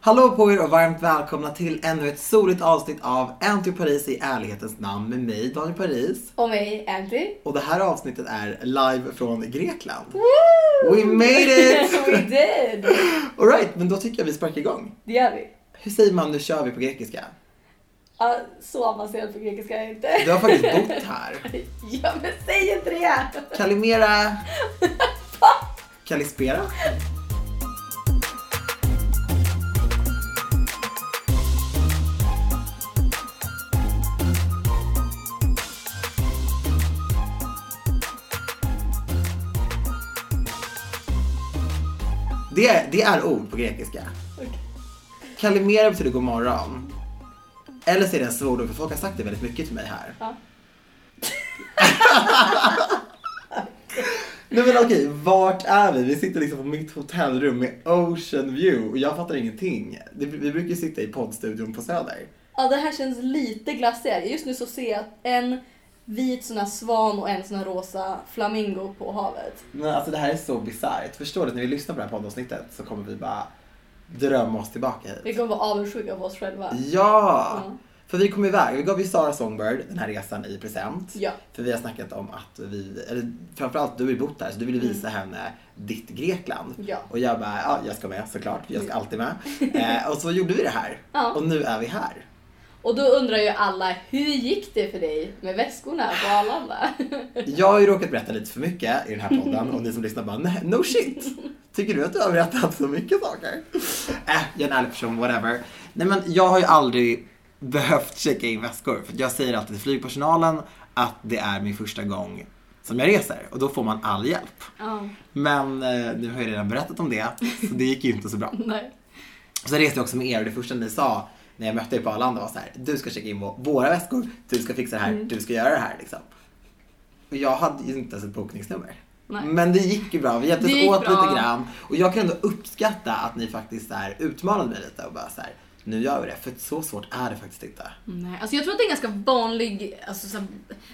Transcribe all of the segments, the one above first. Hallå på er och varmt välkomna till ännu ett soligt avsnitt av Anty Paris i ärlighetens namn med mig Daniel Paris. Och mig, Andy. Och det här avsnittet är live från Grekland. Woo! We made it! We did! Alright, men då tycker jag vi sparkar igång. Det gör vi. Hur säger man nu kör vi på grekiska? Ja, så avancerad på grekiska är jag inte. Du har faktiskt bott här. Ja, men säg inte det! Kalimera! Kalispera? Det, det är ord på grekiska. Okej. Kalimera betyder god morgon. Eller så är det en svordom för folk har sagt det väldigt mycket till mig här. Ja. Nej men okej, vart är vi? Vi sitter liksom på mitt hotellrum med ocean view och jag fattar ingenting. Det, vi brukar ju sitta i poddstudion på Söder. Ja, det här känns lite glassigare. Just nu så ser jag en vit sån här svan och en sån här rosa flamingo på havet. Men alltså det här är så bisarrt. Förstår du att när vi lyssnar på det här poddavsnittet så kommer vi bara drömma oss tillbaka Vi hit. kommer vara avundsjuka på oss själva. Ja! Ja. För vi kom iväg. Vi gav ju Sara Songbird den här resan i present. Ja. För vi har snackat om att vi, eller framförallt du har ju bott där så du ville visa henne ditt Grekland. Mm. Ja. Och jag bara, ja jag ska med såklart. Jag ska alltid med. eh, och så gjorde vi det här. Ja. Och nu är vi här. Och då undrar ju alla, hur gick det för dig med väskorna på Arlanda? Jag har ju råkat berätta lite för mycket i den här podden och ni som lyssnar bara "Nej, no shit. Tycker du att du har berättat så mycket saker? Äh, jag är en ärlig person, whatever. Nej men jag har ju aldrig behövt checka in väskor för jag säger alltid till flygpersonalen att det är min första gång som jag reser och då får man all hjälp. Ja, Men eh, nu har jag redan berättat om det så det gick ju inte så bra. nej. Sen reste jag också med er och det första ni sa när jag mötte er på Arlanda var så här, du ska checka in vå- våra väskor, du ska fixa det här, Mm. du ska göra det här liksom. Och jag hade ju inte ens ett bokningsnummer. Nej. Men det gick ju bra, vi Det hjälptes gick åt bra. lite grann. Och jag kan ändå uppskatta att ni faktiskt så här, utmanade mig lite och bara så här, nu gör vi det. För så svårt är det faktiskt inte. Nej, alltså jag tror att det är en ganska vanlig alltså, så här,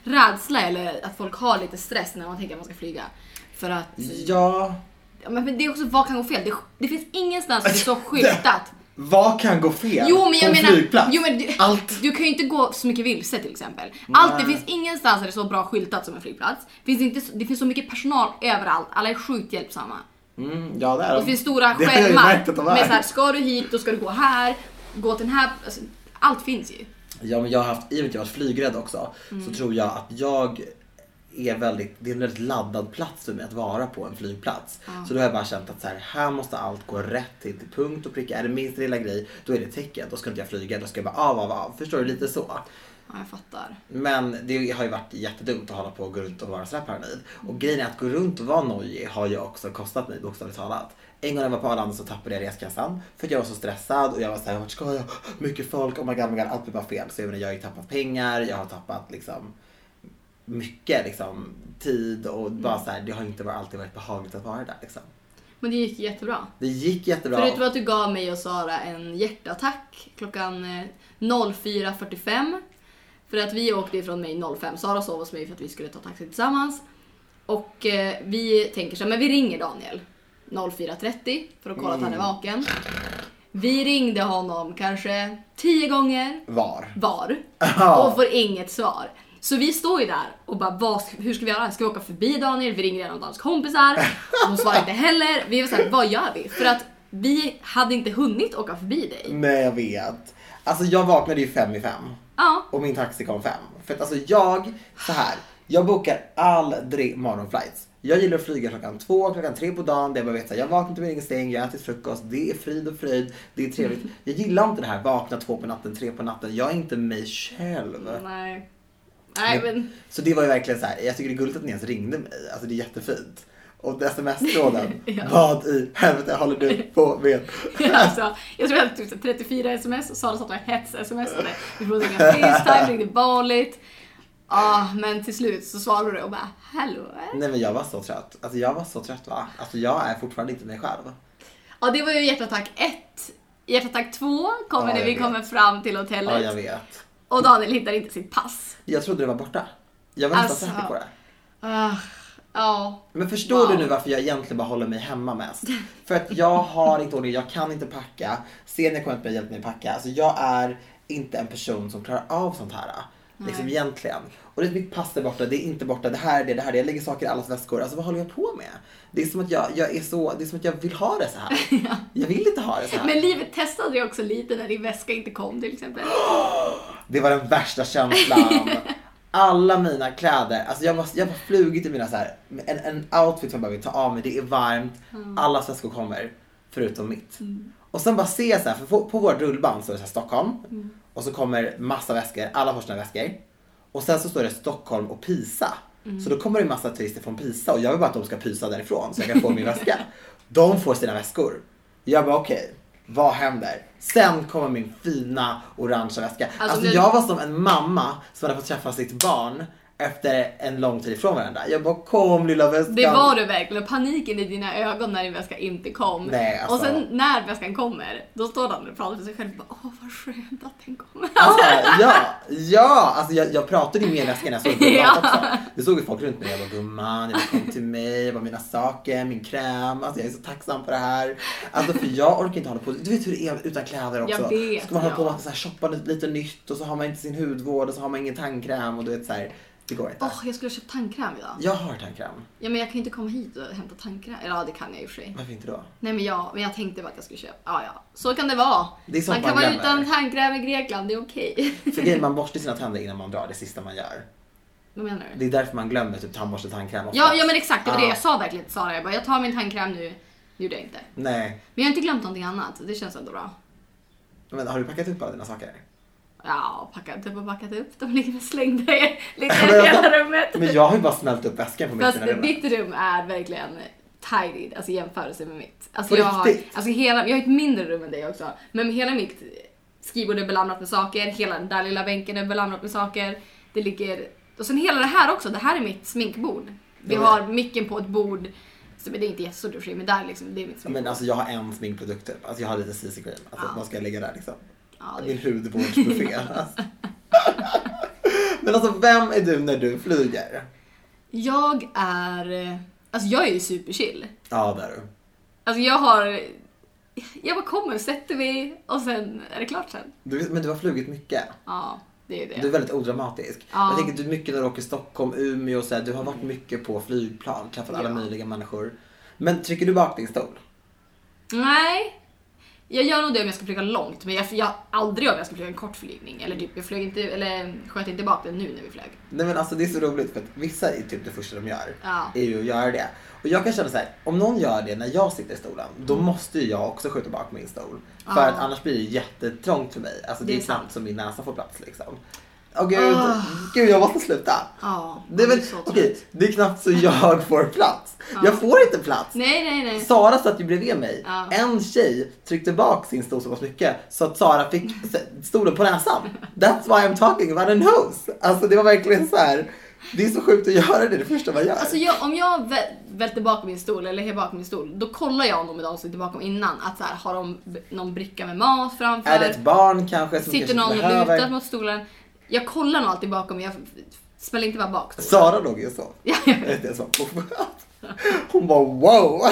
rädsla eller att folk har lite stress när man tänker att man ska flyga. För att... Mm. Ja, Ja, men det är också, vad kan gå fel? Det, det finns ingenstans som det står skyltat. vad kan gå fel Jo men jag på en menar, flygplats? jo, men du, Allt. du kan ju inte gå så mycket vilse till exempel. Allt, det Nej. finns ingenstans där det står bra skyltat som en flygplats. Finns det, inte, så- det finns så mycket personal överallt, alla är sjukt hjälpsamma. Mm, ja, det är Och de. det finns stora Det har jag ju skärmar märkt med att de så är. här, ska du hit då ska du gå här, gå till den här, alltså, allt finns ju. Ja men jag har haft, i och med att jag har varit flygrädd också, så tror jag att jag är väldigt, det är en väldigt laddad plats för mig att vara på en flygplats. Så då har jag bara känt att så här, här måste allt gå rätt till, till punkt och pricka. Är det minsta lilla grej, då är det tecken. Då ska inte jag flyga, då ska jag bara av, av, av. Förstår du? Lite så. Ja, jag fattar. Men det har ju varit jättedumt att hålla på och gå runt och vara sådär paranoid. Och grejen är att gå runt och vara nojig har ju också kostat mig bokstavligt talat. En gång när jag var på Arlanda så tappade jag reskassan för att jag var så stressad och jag var såhär, vart ska jag? Mycket folk, oh my god, oh my god, allt blev bara fel. Så jag menar, jag har ju tappat pengar, jag har tappat liksom mycket liksom tid och bara såhär, det har inte varit- alltid varit behagligt att vara där liksom. Men det gick jättebra. Det gick jättebra. Förutom att du gav mig och Sara en hjärtattack klockan eh, 04.45. För att vi åkte ifrån mig 05. Sara sov hos mig för att vi skulle ta taxi tillsammans. Och eh, vi tänker så här, men vi ringer Daniel 04.30 för att kolla att han är vaken. Vi ringde honom kanske 10 gånger Var. var Ja. och får inget svar. Så vi står ju där och bara, vad, ska- hur ska vi göra? Ska vi åka förbi Daniel? Vi ringer en av Daniels kompisar. De svarar inte heller. Vi var såhär, vad gör vi? För att vi hade inte hunnit åka förbi dig. Nej jag vet. Alltså jag vaknade ju fem i fem. Ja, och min taxi kom fem. För att alltså jag, så här, jag bokar aldrig morgonflights. Jag gillar att flyga klockan två, klockan tre på dagen. Där jag bara vet att jag vaknar till min egen säng, jag äter frukost, det är frid och fröjd, det är trevligt. Jag gillar inte det här vakna två på natten, tre på natten. Jag är inte mig själv. nej. Nej men, Så det var ju verkligen så här, jag tycker det är gulligt att ni ens ringde mig. Alltså det är jättefint. Och sms-tråden, Ja. vad i helvete håller du på med? alltså, jag tror jag hade typ så här 34 sms och Sara satt och hets-smsade. Vi provade inga Facetime, ringde vanligt. Ja, men till slut så svarade du och bara, hallå? Nej men jag var så trött. Alltså jag var så trött va? Alltså jag är fortfarande inte mig själv. Ja, det var ju hjärtattack 1. Hjärtattack 2 kommer Ja, när jag vi vet. kommer fram till Ja hotellet. jag vet. och Daniel hittar inte sitt pass. Jag trodde det var borta. Jag var nästan Alltså. säker på det. Ah, Ja. Men förstår Wow. du nu varför jag egentligen bara håller mig hemma mest? För att jag har inte ordning, jag kan inte packa. Senior kommer inte att hjälpa mig packa. Alltså jag är inte en person som klarar av sånt här. Liksom Nej. egentligen. Och det är mitt pass är borta, det är inte borta, det här är det, det här är det. Jag lägger saker i allas väskor. Alltså vad håller jag på med? Det är som att jag, jag är så, det är som att jag vill ha det så här. Jag vill inte ha det så här. Men livet testade det också lite när din väska inte kom till exempel. Det var den värsta känslan. Alla mina kläder, alltså jag, var, jag var flugit i mina så här, en, en outfit som jag bara vill ta av mig, det är varmt, alla svenskor kommer, förutom mitt. Och sen bara se så här, för på, på vårt rullband så är det så här Stockholm, och så kommer massa väskor, alla får sina väskor. Och sen så står det Stockholm och Pisa. Så då kommer det en massa turister från Pisa och jag vill bara att de ska pysa därifrån så jag kan få min väska. De får sina väskor. Jag bara okej, vad händer? Sen kommer min fina orangea väska. Alltså, nu- jag var som en mamma som hade fått träffa sitt barn efter en lång tid ifrån varandra. Jag bara kom lilla väskan. Det var du verkligen. Och Paniken i dina ögon när din väska inte kom. Nej, alltså. Och sen när väskan kommer, då står han och pratar för sig själv och bara åh vad skönt att den kommer. Alltså, ja, ja, alltså jag, jag pratade ju med väskan när jag såg Ja. ja. också. Det såg ju folk runt mig. Jag bara gumman, jag bara, kom till mig, jag bara mina saker, min kräm, alltså jag är så tacksam för det här. Alltså för jag orkar inte hålla på, du vet hur det är utan kläder också. Jag vet, Ska man hålla på ja. och så här, shoppa lite, lite nytt och så har man inte sin hudvård och så har man ingen tandkräm och du vet så här, det går inte. Åh, jag skulle ha köpt tandkräm idag. Jag har tandkräm, Ja men jag kan ju inte komma hit och hämta tandkräm. Eller ja, det kan jag i och för sig. varför inte då? Nej men jag, men jag tänkte bara att jag skulle köpa. Ja, ja. Så kan det vara. Det är sånt Man kan man vara glömmer. utan tandkräm i Grekland, det är okej. För grejen, man borstar sina tänder innan man drar, det sista man gör. Vad menar du? Det är därför man glömmer typ tandborste och tandkräm Ja, oftast. ja men exakt, det var det Ja. jag sa verkligen till Sara. Jag bara, jag tar min tandkräm nu. Det gjorde jag inte. Nej, Men jag har inte glömt någonting annat. Det känns ändå bra. men har du packat upp alla dina saker? Ja, packat upp och packat upp. De ligger slängda i lite Men i jag- hela rummet. Men jag har ju bara smält upp väskan på mitt Fast i rummet. ditt rum är verkligen tidy, alltså i jämförelse med mitt. Alltså På jag har, riktigt? alltså hela, jag har ett mindre rum än dig också, men hela mitt skrivbord är belamrat med saker, hela den där lilla bänken är belamrat med saker. Det ligger, och sen hela det här också, det här är mitt sminkbord. Vi Ja, men- har micken på ett bord, så men det är inte jättestort i och för sig, men där liksom, det är mitt sminkbord. Men alltså jag har en sminkprodukt typ. Alltså jag har lite CC cream. Alltså Ja. vad ska jag lägga där liksom? ja, det Min är, hudvårdsbuffé. alltså. Men alltså vem är du när du flyger? jag är, alltså jag är ju superchill. Ja det är du. Alltså jag har, jag bara kommer, sätter mig och sen är det klart sen. du. Men du har flugit mycket. Ja, det är det. Du är väldigt odramatisk. Ja. Mm. Jag tänker du mycket när du åker Stockholm, Umeå och så här, Du har varit mycket på flygplan, träffat alla Ja. möjliga människor. Men trycker du bak din stol? Nej. Jag gör nog det om jag ska flyga långt, men jag, jag aldrig om jag ska flyga en kort flygning. Eller typ, jag flög inte, eller sköt inte bak den nu när vi flög. Nej men alltså det är så roligt för att vissa är typ det första de gör. Ja. Är ju att göra det. Och jag kan känna så här, om någon gör det när jag sitter i stolen, då måste ju jag också skjuta bak min stol. För Mm. Ja. att annars blir det jättetrångt för mig. Alltså det, Det är är sant. Ah. knappt som min näsa får plats liksom. Åh gud, gud jag måste sluta. Ja, Det är, man väl, blir så trött. okej, det är knappt så jag får plats. Jag får inte plats. Nej, nej, nej. Sara satt ju bredvid mig. Ja. En tjej tryckte bak sin stol så pass mycket så att Sara fick s- stolen på näsan. That's why I'm talking about a nose. Alltså det var verkligen så här. Det är så sjukt att göra det det första man gör. Alltså jag, om jag vä- välter bak min stol, eller är bakom min stol, då kollar jag nog med de som sitter bakom innan att så här, har de b- någon bricka med mat framför? är det ett barn kanske som sitter någon kanske behöver? lutad mot stolen? Jag kollar nog alltid bakom, jag f- smäller inte bara bak. Sara låg ju och sov. Ja, jag Vet jag, så. Hon bara wow.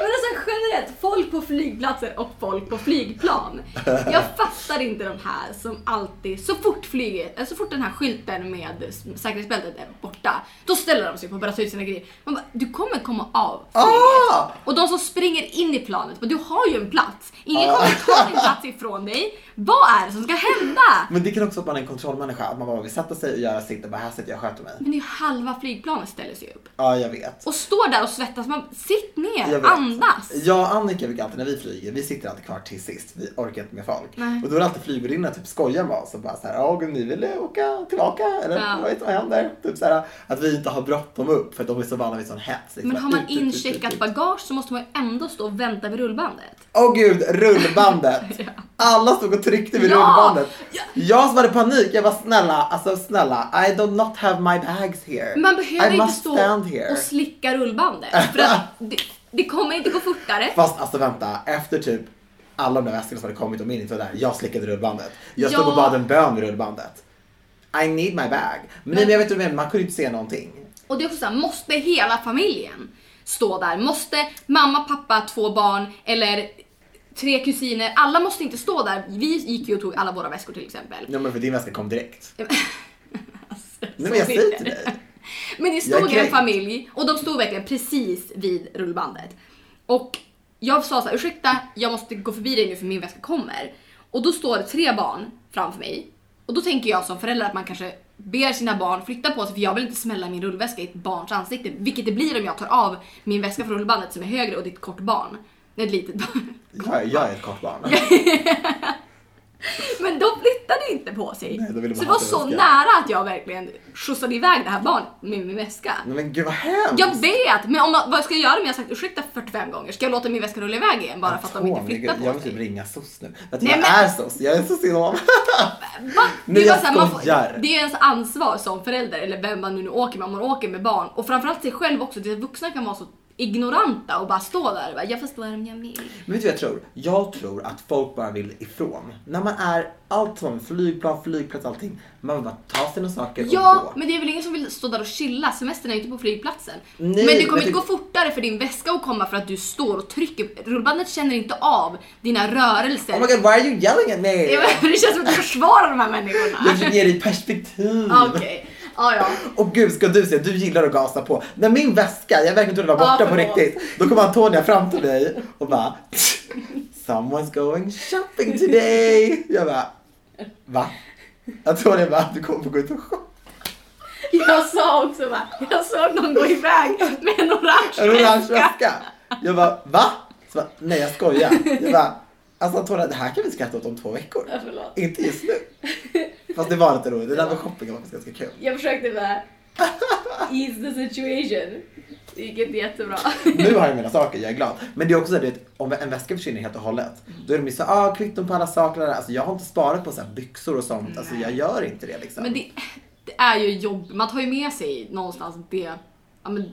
Men alltså generellt, folk på flygplatser och folk på flygplan. Jag fattar inte de här som alltid, så fort flyget, eller så fort den här skylten med s- säkerhetsbältet är borta, då ställer de sig upp och bara tar ut sina grejer. Man bara, du kommer komma av flyget. Ah! Och de som springer in i planet, bara, du har ju en plats. Ingen Ja. kommer ta din plats ifrån dig. Vad är det som ska hända? Men det kan också vara att man är en kontrollmänniska. Att man bara vill sätta sig och göra sitt och bara här sitter jag och sköter mig. Men det är ju halva flygplanet ställer sig upp. Ja, jag vet. Och står där och svettas, man, sitt Jag ner, vet. Eh, andas. Jag och Annika brukar alltid när vi flyger, vi sitter alltid kvar till sist. Vi orkar inte med folk. Nej. Och då är det alltid flygvärdinnan typ skojar med oss och bara såhär, ja gud ni vill åka tillbaka eller Ja. vad vet vad händer? Typ såhär att vi inte har bråttom upp för att de är så vana vid sån hets. liksom. Men har Ut, man ut, ut, ut, incheckat ut. bagage så måste man ju ändå stå och vänta vid rullbandet. Åh gud, rullbandet! Alla stod och tryckte vid Ja! rullbandet. Ja. Jag som hade panik, jag var snälla, alltså snälla, I do not have my bags here. Man behöver I inte must stå stand here. och slicka rullbandet. För att det, det kommer inte gå fortare. Fast alltså vänta, efter typ alla de där väskorna som hade kommit och min inte var där, jag slickade rullbandet. Jag stod Ja. och bad en bön vid rullbandet. I need my bag. Men, Men- men jag vet inte, men man kunde inte se någonting. Och det är också såhär, måste hela familjen stå där? Måste mamma, pappa, två barn eller tre kusiner? Alla måste inte stå där. Vi gick ju och tog alla våra väskor till exempel. Ja, men för din väska kom direkt. Alltså, Nej, så men jag vill säger jag. till dig. Men det Jag är stod en kränkt. familj och de stod verkligen precis vid rullbandet. Och jag sa så här, ursäkta, jag måste gå förbi dig nu för min väska kommer. Och då står det tre barn framför mig. Och då tänker jag som förälder att man kanske ber sina barn flytta på sig för jag vill inte smälla min rullväska i ett barns ansikte. Vilket det blir om jag tar av min väska från rullbandet som är högre och det är ett kort barn. Ett litet barn. Jag, jag är ett kort barn. Men de flyttade inte på sig. Nej, de ville bara så det ha var sin så väska. nära att jag verkligen skjutsade iväg det här barnet med min väska. Nej, men gud vad hemskt. Jag vet, men om man, vad ska jag göra om jag har sagt ursäkta 45 gånger? Ska jag låta min väska rulla iväg igen bara för att de inte Tony, flyttar gud, Jag på vill typ sig? ringa SOS nu. Vet du, Nej, jag men- är SOS. Jag är socionom. Va? Nej, det, är jag bara så här, man får, skojar. det är ens ansvar som förälder, eller vem man nu åker med, om man åker med barn och framförallt sig själv också. Det är att vuxna kan vara så ignoranta och bara stå där och bara, jag får stå här om jag vill. Men vet du vad jag tror? Jag tror att folk bara vill ifrån. När man är allt som flygplan, flygplats, allting. Man vill bara ta sina saker och Ja, gå. men det är väl ingen som vill stå där och chilla? Semestern är ju inte på flygplatsen. Nej, men det men kommer inte det- gå fortare för din väska att komma för att du står och trycker. Rullbandet känner inte av dina rörelser. Oh my god, why are you yelling at me? Det var- det känns som att du försvarar de här människorna. Jag försöker ge dig perspektiv. Ah, Okej, ja ja. Och gud ska du se, du gillar att gasa på. När min väska, jag verkligen trodde den var Ja, borta på förlåt. riktigt. Då kom Antonia fram till mig och bara Someone's going shopping today. Jag bara va? Antonia bara du kommer få gå ut och shoppa. Jag sa också va, jag såg någon gå iväg med en En orange orange väska. väska. Jag bara va? Så bara, Nej jag skojar. Jag bara alltså Antonia det här kan vi skratta åt om två veckor. Ja, förlåt. Inte just nu. Fast det var lite roligt. Det där med shopping var faktiskt ganska kul. Jag försökte bara ease the situation. Det gick inte jättebra. Nu har jag mina saker, jag är glad. Men det är också så att om en väska försvinner helt och hållet, då är de ju så ah kvitton på alla saker. Alltså jag har inte sparat på så här byxor och sånt. Alltså jag gör inte det liksom. Men det... det, det är ju jobb, man tar ju med sig någonstans det. Ja, men,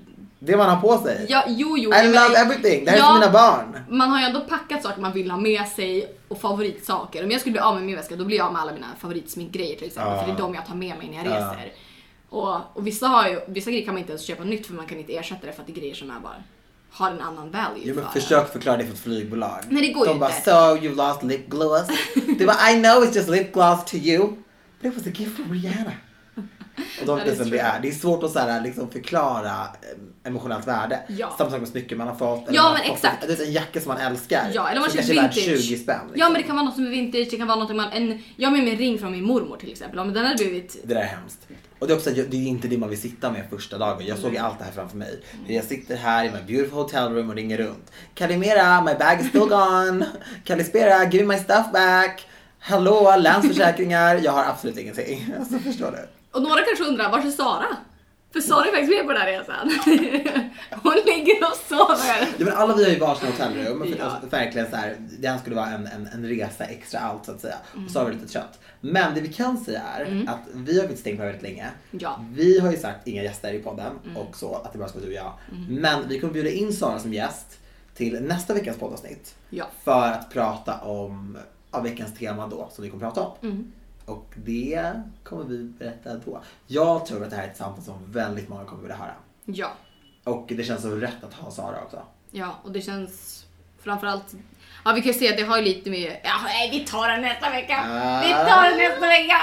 man har på sig. ja, jo, jo. I jag love menar- everything, det här är Ja, för mina barn. Man har ju ändå packat saker man vill ha med sig och favoritsaker. Om jag skulle bli av med min väska då blir jag av med alla mina favoritsminkgrejer till exempel. Ja. För det är de jag tar med mig när jag Ja. reser. Och, och vissa, har ju, vissa grejer kan man inte ens köpa nytt för man kan inte ersätta det för att det är grejer som är bara har en annan value Jo men för en. försök förklara det för ett flygbolag. Nej, det går de ju bara, inte. so you lost lip gloss. Du bara, I know it's just lip gloss to you. But it was a gift from Rihanna. Och de, det, Ja, det är som tror det, jag. är. det är svårt att så här, liksom, förklara eh, emotionellt värde. Ja. Samma sak med smycken man har fått. eller Ja, man har men fått exakt. En, en jacka som man älskar. Ja, eller om man som köper kanske är värt vintage. 20 spänn. liksom. Ja men det kan vara något som är vintage, det kan vara något man... En, jag har med mig en ring från min mormor till exempel. Ja, men den hade blivit... Det där är hemskt. Och det är också det är inte det man vill sitta med första dagen. Jag såg ju allt det här framför mig. Jag sitter här i my beautiful hotel room och ringer runt. Kalimera, my bag is still gone. Kalispera, give me my stuff back. Hallå, Länsförsäkringar. Jag har absolut ingenting. Alltså förstår du? Och några kanske undrar, var är Sara? För Sara är faktiskt med på den här resan. Hon ligger och sover. Ja, men alla vi har ju varsin hotellrum. För, Ja. alltså, verkligen så här, det här skulle vara en, en, en resa extra allt så att säga. Och så har Mm. vi lite kött. Men det vi kan säga är att vi har varit stängt på väldigt länge. Ja. Mm. Vi har ju sagt inga gäster i podden och så att det bara ska vara du och jag. Men vi kommer bjuda in Sara som gäst till nästa veckans poddavsnitt. Ja. För att prata om ja, veckans tema då som vi kommer prata om. Mm. Och det kommer vi berätta då. Jag tror att det här är ett samtal som väldigt många kommer vilja höra. Ja. Och det känns så rätt att ha Sara också. Ja, och det känns framförallt... Ja, vi kan ju se att det har ju lite med... Ja, nej, vi tar den nästa vecka! Ah. Vi tar den nästa vecka!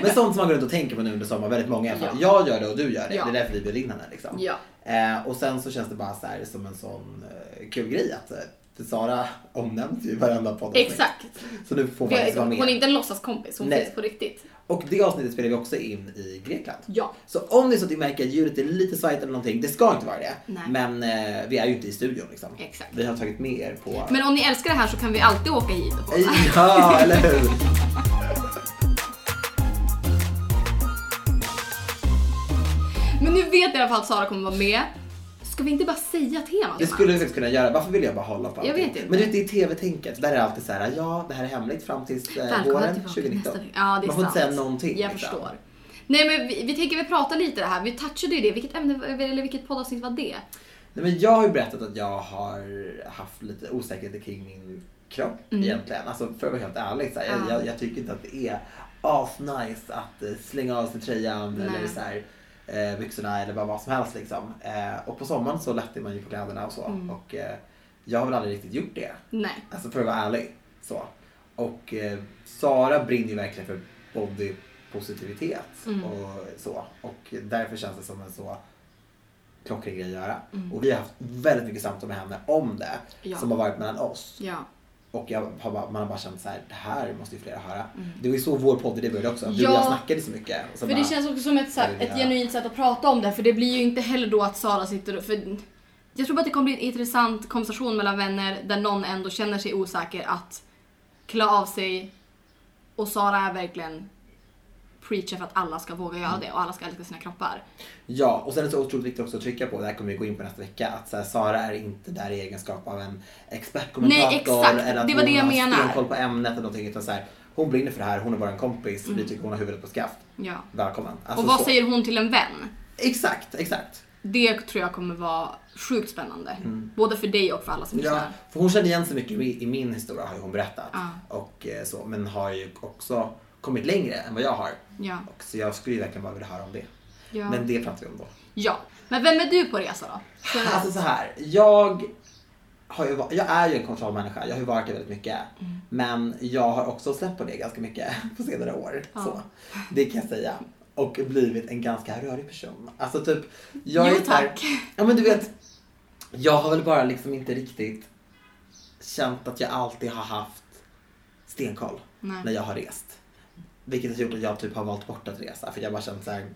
Men sånt som man går runt och tänker på nu under sommaren, väldigt många i alla fall. Jag gör det och du gör det. Ja. Det är därför vi bjöd in henne. Liksom. Ja. Eh, och sen så känns det bara så här som en sån eh, kul grej att eh, för Sara omnämns ju i varenda podd. Exakt! Så nu får man faktiskt vara Hon är med. inte en låtsaskompis, hon Nej. finns på riktigt. Och det avsnittet spelar vi också in i Grekland. Ja. Så om det är så att ni märker att ljudet är lite svajigt eller någonting, det ska inte vara det. Nej. Men eh, vi är ju inte i studion liksom. Exakt. Vi har tagit med er på... Men om ni älskar det här så kan vi alltid åka hit och podda. Ja, eller hur? Men nu vet i alla fall att Sara kommer vara med. Ska vi inte bara säga temat? Det skulle vi faktiskt kunna göra. Varför vill jag bara hålla på Jag allting? vet inte. Men du vet, det är tv-tänket. Där är det alltid så här, ja det här är hemligt fram tills eh, Välkomna våren tillbaka 2019. nästa vecka. Ja, det är Man får sant. inte säga någonting. Jag liksom. förstår. Nej men vi, vi tänker vi pratar lite det här, vi touchade ju det, vilket ämne eller vilket poddavsnitt var det? Nej, men jag har ju berättat att jag har haft lite osäkerhet kring min kropp Mm. egentligen. Alltså för att vara helt ärlig, så här, Ja. jag, jag, jag tycker inte att det är asnice att eh, slänga av sig tröjan Nej. eller så här, eh, byxorna eller bara vad som helst liksom. Eh, och på sommaren så lättar man ju på kläderna och så. Mm. Och eh, jag har väl aldrig riktigt gjort det. Nej. Alltså för att vara ärlig. Så. Och eh, Sara brinner ju verkligen för bodypositivitet Mm. och så. Och därför känns det som en så klockren grej att göra. Mm. Och vi har haft väldigt mycket samtal med henne om det Ja. som har varit mellan oss. Ja. Och jag har bara, man har bara känt så här, det här måste ju fler höra. Mm. Det var ju så vår podd det började också. Du Ja. och jag snackade så mycket. Och så För det bara, känns också som ett, så här, Ja, det är ett det. genuint sätt att prata om det för det blir ju inte heller då att Sara sitter och... För jag tror bara att det kommer bli en intressant konversation mellan vänner där någon ändå känner sig osäker att klä av sig och Sara är verkligen preacher för att alla ska våga Mm. göra det och alla ska älska sina kroppar. Ja, och sen är det så otroligt viktigt också att trycka på, det här kommer vi gå in på nästa vecka, att så här, Sara är inte där i egenskap av en expertkommentator Nej, exakt. eller att Det var det hon jag har menar. stenkoll på ämnet eller någonting. Utan så här, hon brinner för det här, hon är bara en kompis, vi tycker hon har huvudet på skaft. Ja. Välkommen. Alltså, Mm. Och vad så. säger hon till en vän? Exakt, exakt. Det tror jag kommer vara sjukt spännande. Både för dig och för alla som Mm. Ja, lyssnar. för hon känner igen sig mycket i i min historia har ju hon berättat. Ja. Och, eh, så, men har ju också kommit längre än vad jag har. Ja. Och, så jag skulle ju verkligen bara vilja höra om det. Mm. Ja. Men Men, det pratar vi om då. ja. Men vem är du på resa då? Så- Alltså så här, jag, har ju, va- jag är ju en kontrollmänniska, jag har ju varit det väldigt mycket. Mm. Men jag har också släppt på det ganska mycket på senare år. Ja. Så, det kan jag säga. Och blivit en ganska rörig person. Alltså typ, jag Jo, är så här- tack. Ja men du vet, jag har väl bara liksom inte riktigt känt att jag alltid har haft stenkoll Nej. när jag har rest. Vilket har gjort att jag typ har valt bort att resa för jag har bara känt såhär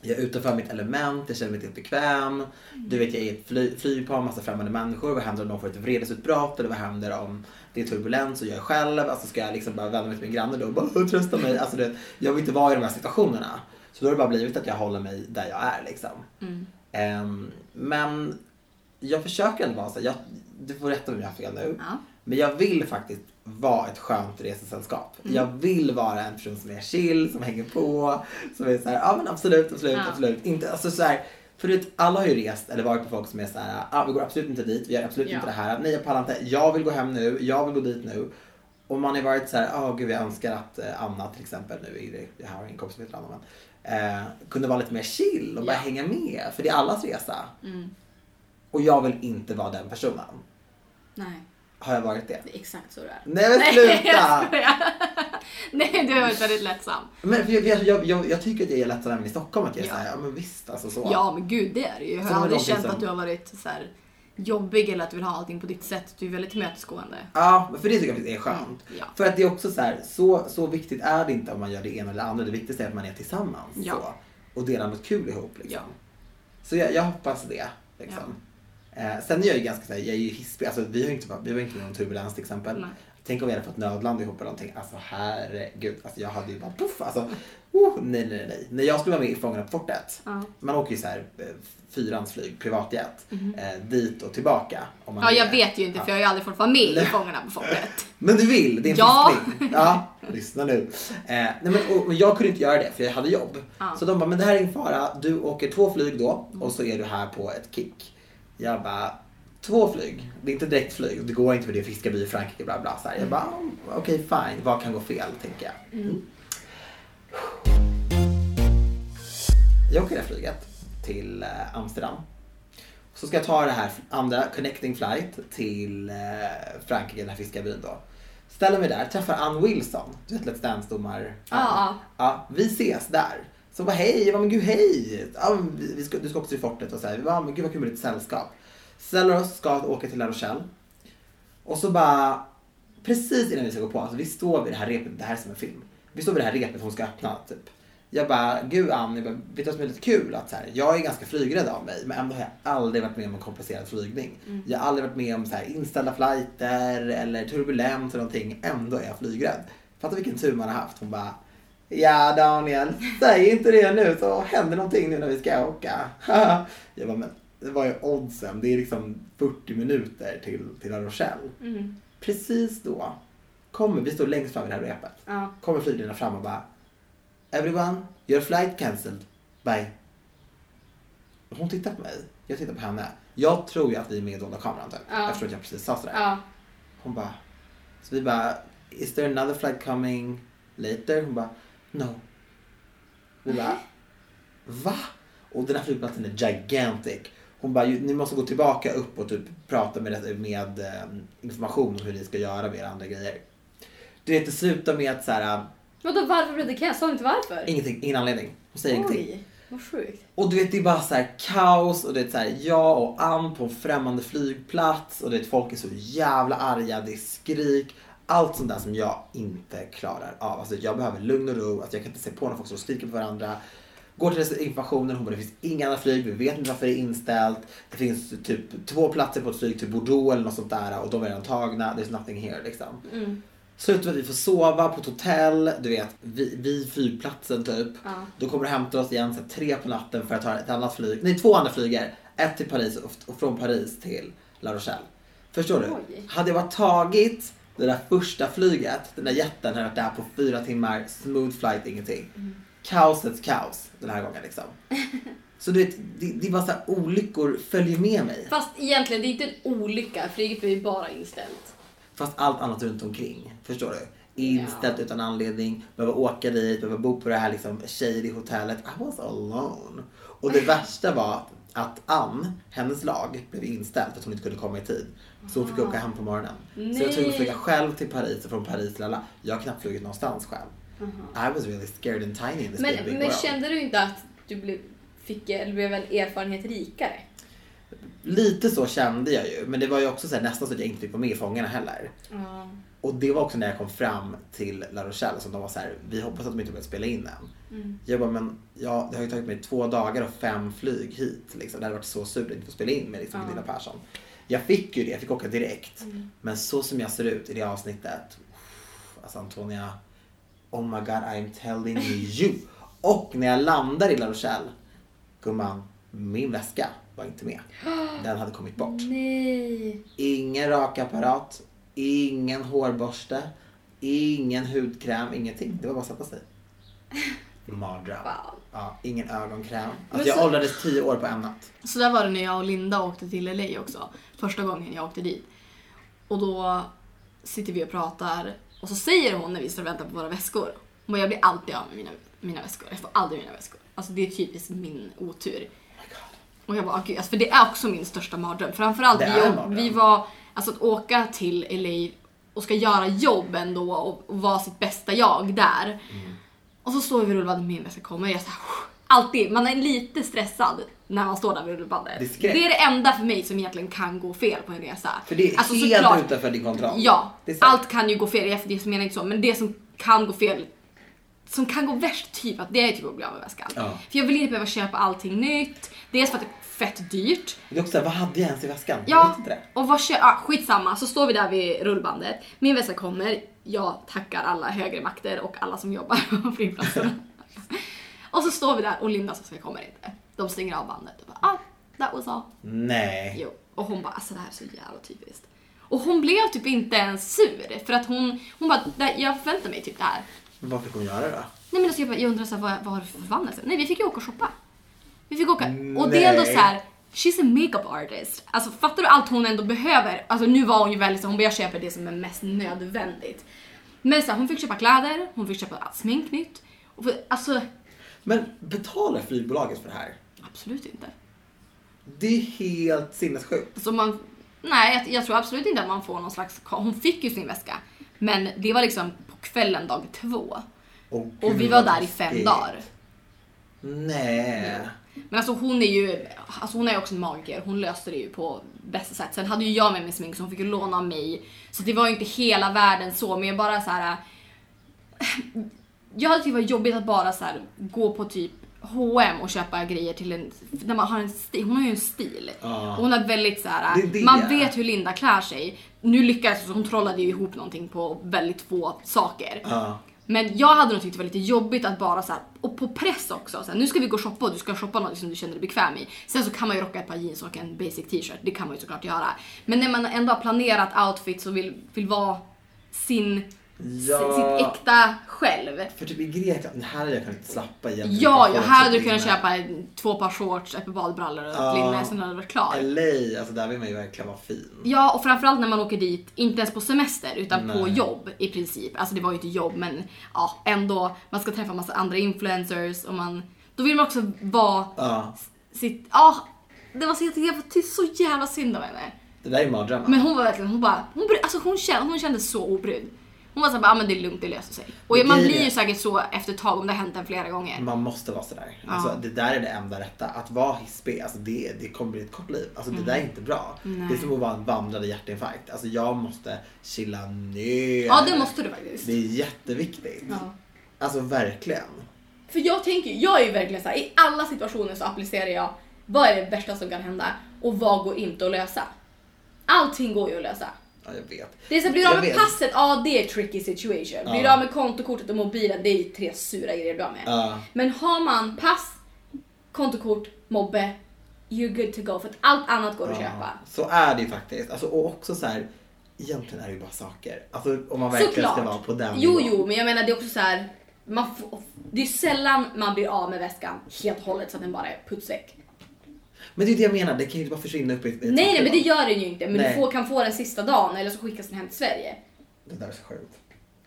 jag är utanför mitt element, jag känner mig inte bekväm. Du vet jag är i ett fly- flygplan, massa främmande människor. Vad händer om någon får ett vredesutbrott? Eller vad händer om det är turbulens och jag är själv? Alltså ska jag liksom bara vända mig till min granne då och bara "Åh, trösta mig? Alltså du vet, jag vill inte vara i de här situationerna. Så då har det bara blivit att jag håller mig där jag är liksom. Mm. Ehm, men jag försöker ändå vara så här, jag, du får rätta mig om jag har fel nu. Ja. Men jag vill faktiskt vara ett skönt resesällskap. Mm. Jag vill vara en person som är chill, som hänger på, som är såhär, ja men absolut, absolut, Ja. absolut. Inte, alltså så här, för du vet, alla har ju rest eller varit på folk som är så här, ah, vi går absolut inte dit, vi gör absolut Ja. inte det här, nej jag pallar inte, jag vill gå hem nu, jag vill gå dit nu. Och man har varit så här, ah gud jag önskar att eh, Anna till exempel, nu är det, jag har ingen kompis som heter Anna men, eh, kunde vara lite mer chill och bara Ja. hänga med, för det är allas resa. Mm. Och jag vill inte vara den personen. Nej. Har jag varit det? Det är exakt så det är. Nej men Nej, jag sluta! skojar. Nej, du har varit väldigt lättsam. Men för jag, jag, jag, jag, jag tycker att jag är lättare även i Stockholm att jag är Ja. såhär, ja men visst alltså så. Ja, men gud det är det ju. Jag Så det har var aldrig någonting känt som- att du har varit så här jobbig eller att du vill ha allting på ditt sätt. Du är väldigt tillmötesgående. Ja, för det tycker jag faktiskt är skönt. Mm, ja. För att det är också så här, så, så viktigt är det inte om man gör det ena eller det andra. Det viktigaste är att man är tillsammans Ja. så, och delar något kul ihop. Liksom. Ja. Så jag, jag hoppas det. Liksom. Eh, sen är jag ju ganska så här, jag är ju hispig. Alltså, vi har ju inte, vi var inte med någon turbulens till exempel. Nej. Tänk om vi hade fått nödland ihop eller någonting. Alltså herregud. Alltså, jag hade ju bara poff. Alltså, oh, nej, nej, nej. När jag skulle vara med i Fångarna på fortet. Ja. Man åker ju så här eh, fyrans flyg, privatjet, eh, dit och tillbaka. om man Mhm. Ja, är- jag vet ju inte för jag har ju aldrig fått vara med i Fångarna på fortet. men du vill, det är en Ja. fiskning. Ja, lyssna nu. Eh, nej men, och, och jag kunde inte göra det för jag hade jobb. Ja. Så de bara, men det här är ingen fara. Du åker två flyg då och så är du här på ett kick. Jag bara, två flyg? Det är inte direktflyg. Det går inte för det är Fiskarby i Frankrike bla bla. Så här. Jag bara, "Oh, okej fine. Vad kan gå fel tänker jag. Mm. Jag åker det här flyget till eh, Amsterdam. Så ska jag ta det här andra connecting flight till eh, Frankrike, den här fiskarbyn då. Ställer mig där, träffar Ann Wilson, du vet Let's Dance domar. Ja, ja. ja. Vi ses där. Så bara hej, jag bara men gud hej. Ja, men vi, vi ska, du ska också till fortet och så här. Vi bara, "Ja, men gud vad kul med lite sällskap. Ställer oss, ska åka till La Rochelle. Och så bara, precis innan vi ska gå på, alltså vi står vid det här repet, det här är som en film. Vi står vid det här repet hon ska öppna typ. Jag bara, gud Ann, jag bara, vet du vad som är lite kul? Att så här, jag är ganska flygrädd av mig men ändå har jag aldrig varit med om en komplicerad flygning. Jag har aldrig varit med om så här, inställda flighter eller turbulens eller någonting. Ändå är jag flygrädd. Fattar vilken tur man har haft. Hon bara, ja Daniel, säg inte det nu så händer någonting nu när vi ska åka. jag bara, men det var ju oddsen. Det är liksom 40 minuter till, till La Rochelle. Mm. Precis då kommer, vi står längst fram vid det här repet, Ja. kommer flygledarna fram och bara Everyone, your flight cancelled. Bye. Och Hon tittar på mig Jag tittar på henne. Jag tror ju att vi är med i dolda kameran typ. Ja. Eftersom att jag precis sa sådär. Ja. Hon bara, så vi bara, is there another flag coming later? Hon bara, no. Vi bara, va? Och den här flygplatsen är gigantic. Hon bara, ni måste gå tillbaka upp och typ prata med, med eh, information om hur ni ska göra med era andra grejer. Du vet, det slutar med att så här, eh, Vadå varför blev det kaos? Sa du inte varför? ingenting, ingen anledning. Hon säger ingenting. Oj, vad sjukt. Och du vet det är bara så här kaos och det är så här jag och Ann på en främmande flygplats och det är folk är så jävla arga, det är skrik. Allt sånt där som jag inte klarar av. Alltså jag behöver lugn och ro, alltså, jag kan inte se på när folk står och skriker på varandra. Går till informationen, hon bara det finns inga andra flyg, vi vet inte varför det är inställt. Det finns typ två platser på ett flyg till Bordeaux eller något sånt där och de är redan tagna. There's nothing here liksom. Mm. Slutar med att vi får sova på ett hotell, du vet, vid, vid flygplatsen typ. Ja. Då kommer du hämta oss igen så här, tre på natten för att ta ett annat flyg. Nej, två andra flyger. Ett till Paris och, och från Paris till La Rochelle. Förstår du? Oj. Hade jag bara tagit det där första flyget, den där jätten hade varit där på fyra timmar, smooth flight, ingenting. Kaosets kaos den här gången liksom. så du vet, det, det är bara så här, olyckor följer med mig. Fast egentligen, det är inte en olycka. Flyget blev ju bara inställt. Fast allt annat runt omkring. Förstår du? Inställt Ja. utan anledning, behöva åka dit, behöva bo på det här liksom shady hotellet. I was alone. Och det värsta var att Ann, hennes lag, blev inställd för att hon inte kunde komma i tid. Så hon fick åka hem på morgonen. Så jag tvungen att Ah. Nej. flyga själv till Paris och från Paris till alla. Jag har knappt flugit någonstans själv. I was really scared and tiny in this big, big Men, men world. kände du inte att du blev, fick, eller blev en erfarenhet rikare? Lite så kände jag ju, men det var ju också så här, nästan så att jag inte fick vara med i Fångarna heller. Ja. Och det var också när jag kom fram till La Rochelle som de var så här, vi hoppas att de inte börjar spela in än. Jag bara, men ja, det har ju tagit mig två dagar och fem flyg hit. Liksom. Det hade varit så surt att inte få spela in med liksom, Gunilla Persson. Jag fick ju det, jag fick åka direkt. Men så som jag ser ut i det avsnittet, uff, alltså Antonia, oh my god I'm telling you. Och när jag landar i La Rochelle, gumman, min väska var inte med. Den hade kommit bort. Nej. Ingen rakapparat, ingen hårborste, ingen hudkräm, ingenting. Det var bara att sätta sig. Mardröm. Wow. Ja, ingen ögonkräm. Men Alltså jag så- åldrades tio år på en natt. Så där var det när jag och Linda åkte till LA också. Första gången jag åkte dit. Och då sitter vi och pratar och så säger hon när vi står och väntar på våra väskor. Hon bara, jag blir alltid av med mina, mina väskor. Jag får aldrig mina väskor. Alltså det är typiskt min Oh otur. Och jag bara, "Ah, gud, alltså, för det är också min största mardröm. Framförallt Det vi, är en och- mardröm. vi var, alltså att åka till LA och ska göra jobb ändå och, och vara sitt bästa jag där. Mm. Och så står vi vid rullbandet min väska kommer. Jag så här, alltid, man är lite stressad när man står där vid rullbandet. Det är skräck. det är det enda för mig som egentligen kan gå fel på en resa. För det är Alltså, helt såklart- utanför din kontroll. Ja, Det är sant. allt kan ju gå fel. Jag menar jag inte så, men det som kan gå fel som kan gå värst typ att det är typ att bli av med väskan. Ja. För jag vill inte behöva köpa allting nytt. Dels för att det är fett dyrt. Det är också såhär, vad hade jag ens i väskan? Jag Ja, vet inte det. och vad kö- ah, skitsamma. Så står vi där vid rullbandet. Min väska kommer. Jag tackar alla högre makter och alla som jobbar på flygplatserna. och så står vi där och Lindas väska kommer inte. De stänger av bandet och bara ah, that was all. Nej. Jo. Och hon bara alltså det här är så jävla typiskt. Och hon blev typ inte ens sur för att hon, hon bara "Nej, jag förväntar mig typ det här. Men vad fick hon göra då? Nej men alltså jag, bara, jag undrar så här, vad, vad har du för förbannelse? Nej vi fick ju åka och shoppa. Vi fick åka. Och det är ändå Nej. så här. She's a makeup artist. Alltså fattar du allt hon ändå behöver? Alltså nu var hon ju väldigt så hon bara jag köper det som är mest nödvändigt. Men så här, hon fick köpa kläder, hon fick köpa allt smink nytt. Och för, alltså Men betalar flygbolaget för det här? absolut inte. Det är helt sinnessjukt. Så man, nej, jag, jag tror absolut inte att man får någon slags... Hon fick ju sin väska, men det var liksom på kvällen dag två. Åh, Och vi gud, var vad där i fem taskigt. dagar. Nej. Men alltså hon är ju alltså hon är också en magiker, hon löste det ju på bästa sätt. Sen hade ju jag med mig smink så hon fick ju låna av mig. Så det var ju inte hela världen så, men jag bara så här. Jag hade tyckt det var jobbigt att bara så här, gå på typ H&M och köpa grejer till en, när man har en stil, hon har ju en stil. Ja. Och Hon har väldigt så här. Det är det. man vet hur Linda klär sig. Nu lyckades hon, hon trollade ju ihop någonting på väldigt få saker. Ja. Men jag hade nog tyckt det var lite jobbigt att bara så här, och på press också. Så här, nu ska vi gå och shoppa och du ska shoppa något som du känner dig bekväm i. Sen så kan man ju rocka ett par jeans och en basic t-shirt, det kan man ju såklart göra. Men när man ändå har planerat outfits och vill, vill vara sin s- Ja. sitt äkta själv. För typ i Grekland, här hade jag kunnat slappa igen. Ja, ja, Bara här typ hade du kunnat inne. köpa en- två par shorts, ett par badbrallor och ett Ja. linne, sen hade du varit klar. LA, alltså där vill man ju verkligen vara fin. Ja, och framförallt när man åker dit, inte ens på semester utan på Nej. jobb i princip. Alltså det var ju inte jobb men ja, ändå. Man ska träffa massa andra influencers och man... Då vill man också vara Ja, sitt... Ja, det var så, jag tyckte- jag tyckte så jävla synd om henne. det där är mardrömmen. Men hon var verkligen, hon bara, hon, bry- alltså hon, kände, hon kände så obrydd. Hon var såhär, ja ah, men det är lugnt, det löser sig. Och Men man det är blir det. ju säkert så efter ett tag om det har hänt en flera gånger. Man måste vara sådär. Ja. Alltså, det där är det enda rätta. Att vara hispig, alltså, det, det kommer bli ett kort liv. Alltså, Mm. Det där är inte bra. Nej. Det är som att vara en vandrande hjärtinfarkt. Alltså, jag måste chilla ner. Ja det måste du faktiskt. Det är jätteviktigt. Ja. Alltså verkligen. För jag tänker ju- jag är ju verkligen så här, i alla situationer så applicerar jag vad är det värsta som kan hända och vad går inte att lösa. Allting går ju att lösa. Ja, jag vet. Det är så här, blir du av Jag med vet. passet, ja det är tricky situation. Blir du Ja. av med kontokortet och mobilen, det är ju tre sura grejer du har med. Ja. Men har man pass, kontokort, mobbe, you're good to go. För att allt annat går att köpa. Så är det ju faktiskt. Alltså, och också så här, egentligen är det ju bara saker. Alltså, om man verkligen Såklart. ska vara på den jo, nivån. jo, men jag menar det är också så här. Man får, det är sällan man blir av med väskan helt och hållet så att den bara är puttsäck. Men det är det jag menar, det kan ju inte bara försvinna upp i ett i Nej, ett nej, men det trappor. gör den ju inte. Men Nej. du får, kan få den sista dagen eller så skickas den hem till Sverige. Det där är så sjukt.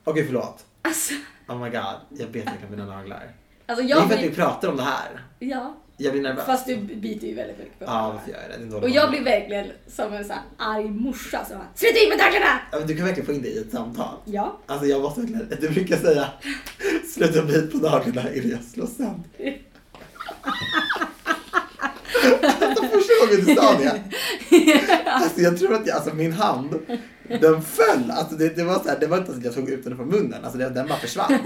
Okej, förlåt. Alltså, Oh my god, jag bet verkligen mina naglar. alltså det är jag för att vi blir, pratar om det här. Ja, Jag blir nervös. fast du biter ju väldigt mycket på Ja, det. varför gör jag det? det är en dålig Och jag plan. blir verkligen som en sån här arg morsa som bara Sluta in med tacklarna! Ja, men du kan verkligen få in det i ett samtal. Ja. Alltså jag måste verkligen... Du brukar säga sluta bit på naglarna eller jag slår sönder. alltså första gången du sa det. Alltså jag tror att jag, alltså min hand, den föll. Alltså det, det var så här, det var inte så att jag tog ut den från munnen. Alltså det, den bara försvann.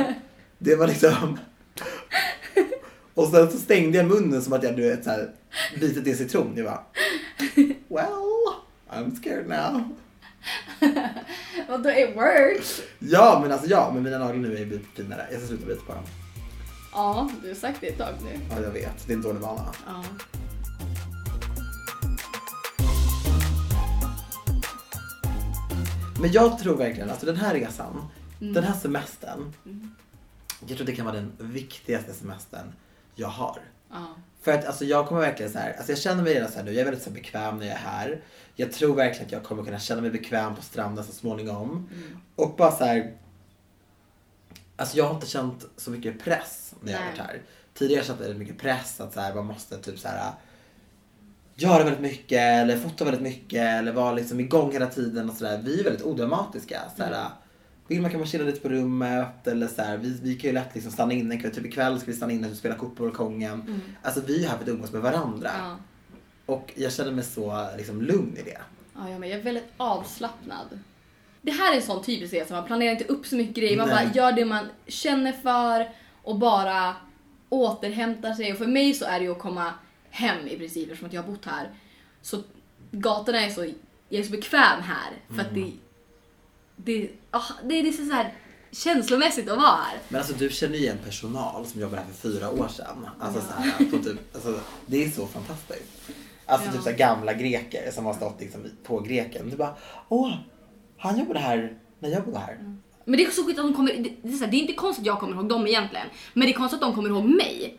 Det var liksom... Och sen så stängde jag munnen som att jag hade ett så här, bitit i en citron. Jag bara, well, I'm scared now. Vadå it works? Ja, men alltså ja, men mina naglar nu är lite finare. Jag ska sluta bita på dem. Ja, du har sagt det ett tag nu. Ja, jag vet. Det är en dålig vana. Ja. Men jag tror verkligen, alltså den här resan, den här semestern. Jag tror det kan vara den viktigaste semestern jag har. Ja. För att alltså jag kommer verkligen så här, alltså jag känner mig redan så här nu, jag är väldigt så här bekväm när jag är här. Jag tror verkligen att jag kommer kunna känna mig bekväm på stranden så småningom. Och bara så här, alltså jag har inte känt så mycket press när jag har Nej. varit här. Tidigare har jag känt väldigt mycket press att så här, man måste typ så här göra väldigt mycket eller fota väldigt mycket eller vara liksom igång hela tiden och sådär. Vi är väldigt odramatiska. Såhär, Mm. Vill man kan man chilla lite på rummet eller så vi, vi kan ju lätt liksom stanna inne en kväll. Typ ikväll ska vi stanna inne och spela kort på balkongen. Alltså vi är här för att umgås med varandra. Mm. Ja. Och jag känner mig så liksom lugn i det. Ja, jag, men jag är väldigt avslappnad. Det här är en sån typisk resa, man planerar inte upp så mycket grejer, man Nej. bara gör det man känner för och bara återhämtar sig. Och för mig så är det ju att komma hem i princip eftersom att jag har bott här. Så gatorna är så, jag är så bekväm här för att det, det, ah, det är liksom så här känslomässigt att vara här. Men alltså du känner ju igen personal som jobbade här för fyra år sedan. Alltså, såhär, på typ, alltså, det är så fantastiskt. Alltså Ja. typ så gamla greker som har stått liksom, på greken. Du bara, åh, han jobbade här när jag bodde här. Mm. Men det är också skit att de kommer, det, det, är så här, det är inte konstigt att jag kommer ihåg dem egentligen. Men det är konstigt att de kommer ihåg mig.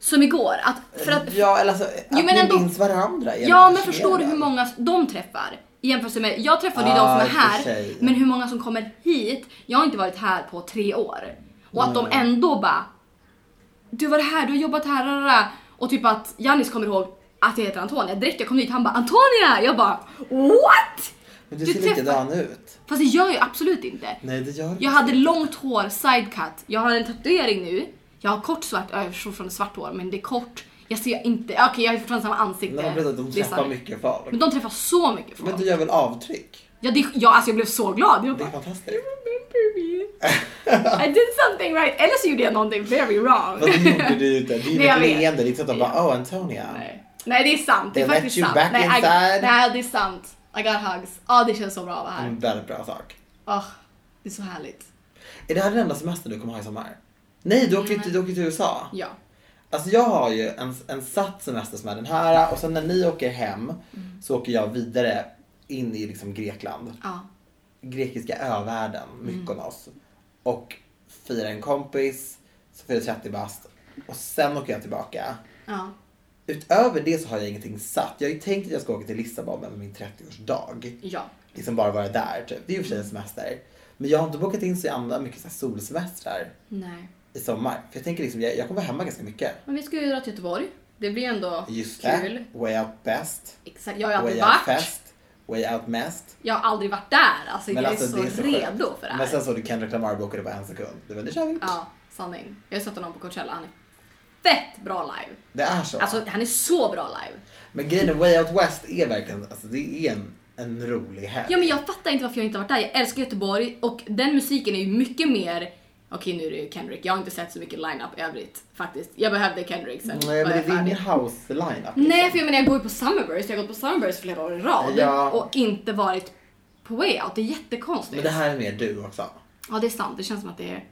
Som igår. Att, för att ja, eller alltså, att men ni ändå- minns varandra. är Ja lite men förstår du hur fascinerande. många de träffar? I jämförelse med, jag träffade ju de Ah, som i och är för här, sig. men hur många som kommer hit? Jag har inte varit här på tre år. Och att de Nej. ändå bara, du var här, du har jobbat här, rara. och typ att Jannis kommer ihåg att jag heter Antonia. Direkt jag kom hit, han bara Antonia! Jag bara what? Men du, Du ser träffar- likadan ut. Fast det gör jag ju absolut inte. Nej, det gör du Jag hade långt hår, sidecut. Jag har en tatuering nu. Jag har kort svart, ja, jag förstår från svart hår, men det är kort. Jag ser inte, okej jag har fortfarande samma ansikte. Nej, men berätta att de Det är träffar sant. mycket folk. Men de träffar så mycket folk. Men Mm. du gör väl avtryck? Ja, det, ja, alltså jag blev så glad. Jag Det är bara, fantastiskt. remember me. I did something right. Eller så gjorde jag någonting very wrong. Fast det gjorde du ju inte. Det är Nej, ju jag ett vet. leende. Det är inte så att de bara, oh Antonia. Nej. Nej, det är sant. Det är They let faktiskt you sant. back nej, I, inside. Mm. nej, det är sant. I got hugs. Ja, det känns så bra att vara Det är här. En väldigt bra sak. Åh, det är så härligt. Är det här den enda semestern du kommer ha i sommar? Nej, du åker ju till, du åker till USA. Mm. Ja. Alltså jag har ju en, en satt semester som är den här Mm. och sen när ni åker hem så åker jag vidare in i liksom Grekland. ja. grekiska övärlden, Mm. Mykonos. Och firar en kompis, så firar jag 30 bast. Och sen åker jag tillbaka. Ja. Utöver det så har jag ingenting satt. Jag har ju tänkt att jag ska åka till Lissabon över min 30-årsdag. Ja. Liksom bara vara där typ. Det är ju i och för sig en semester. Men jag har inte bokat in så andra mycket så här solsemestrar Nej. i sommar. För jag tänker liksom, jag, jag kommer vara hemma ganska mycket. Men vi ska ju dra till Göteborg. Det blir ändå Just kul. det. Way out best. Exakt. Jag har ju Way aldrig out varit. fest. Way out mest. Jag har aldrig varit där. Alltså, jag är, så sjukt. redo för det här. Men sen såg du Kendrick Lamar bokade på en sekund. Du bara, nu kör vi. Ja, sanning. Jag har sett honom på Coachella. Han är fett bra live. Det är så. Alltså han är så bra live. men grejen är, Way Out West är verkligen, alltså det är en, en rolig helg. Ja men jag fattar inte varför jag inte har varit där. Jag älskar Göteborg och den musiken är ju mycket mer Okej nu är det ju Kendrick, jag har inte sett så mycket line-up i övrigt faktiskt. Jag behövde Kendrick sen Nej var men jag det är färdig. ingen house-line-up. Nej för jag menar jag går ju på Summerburst, jag har gått på Summerburst flera år i rad Ja. och inte varit på way out. Det är jättekonstigt. Men det här är mer du också. Ja det är sant, det känns som att det är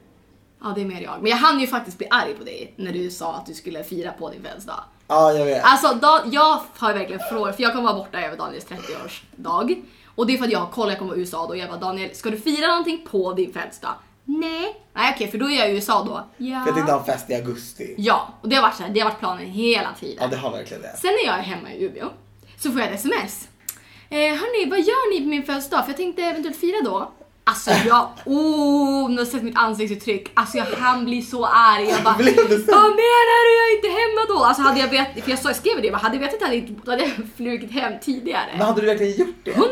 Ja det är mer jag. Men jag hann ju faktiskt bli arg på dig när du sa att du skulle fira på din födelsedag. Ja, jag vet. Alltså Dan, jag har verkligen frågat, för jag kommer vara borta över Daniels 30-årsdag. Och det är för att jag kollar, jag kommer vara i USA då och jag bara Daniel, ska du fira någonting på din födelsedag? Nej. Nej okej, för då är jag i USA då. För jag tänkte Ja. ha en fest i augusti. Ja, och det har varit så här, det har varit planen hela tiden. Ja, det har verkligen det. Sen när jag är hemma i Umeå så får jag ett sms. Eh, hörni, vad gör ni på min födelsedag? För jag tänkte eventuellt fira då. Alltså jag, oh, ni har sett mitt ansiktsuttryck. Alltså jag hann bli så arg. Jag bara, Blev du så? vad menar du? Jag är inte hemma då. Alltså hade jag vetat, för jag, sa, jag skrev det, jag bara, hade jag vetat det hade jag, inte- då hade jag flugit hem Men tidigare. hade du verkligen gjort det? 100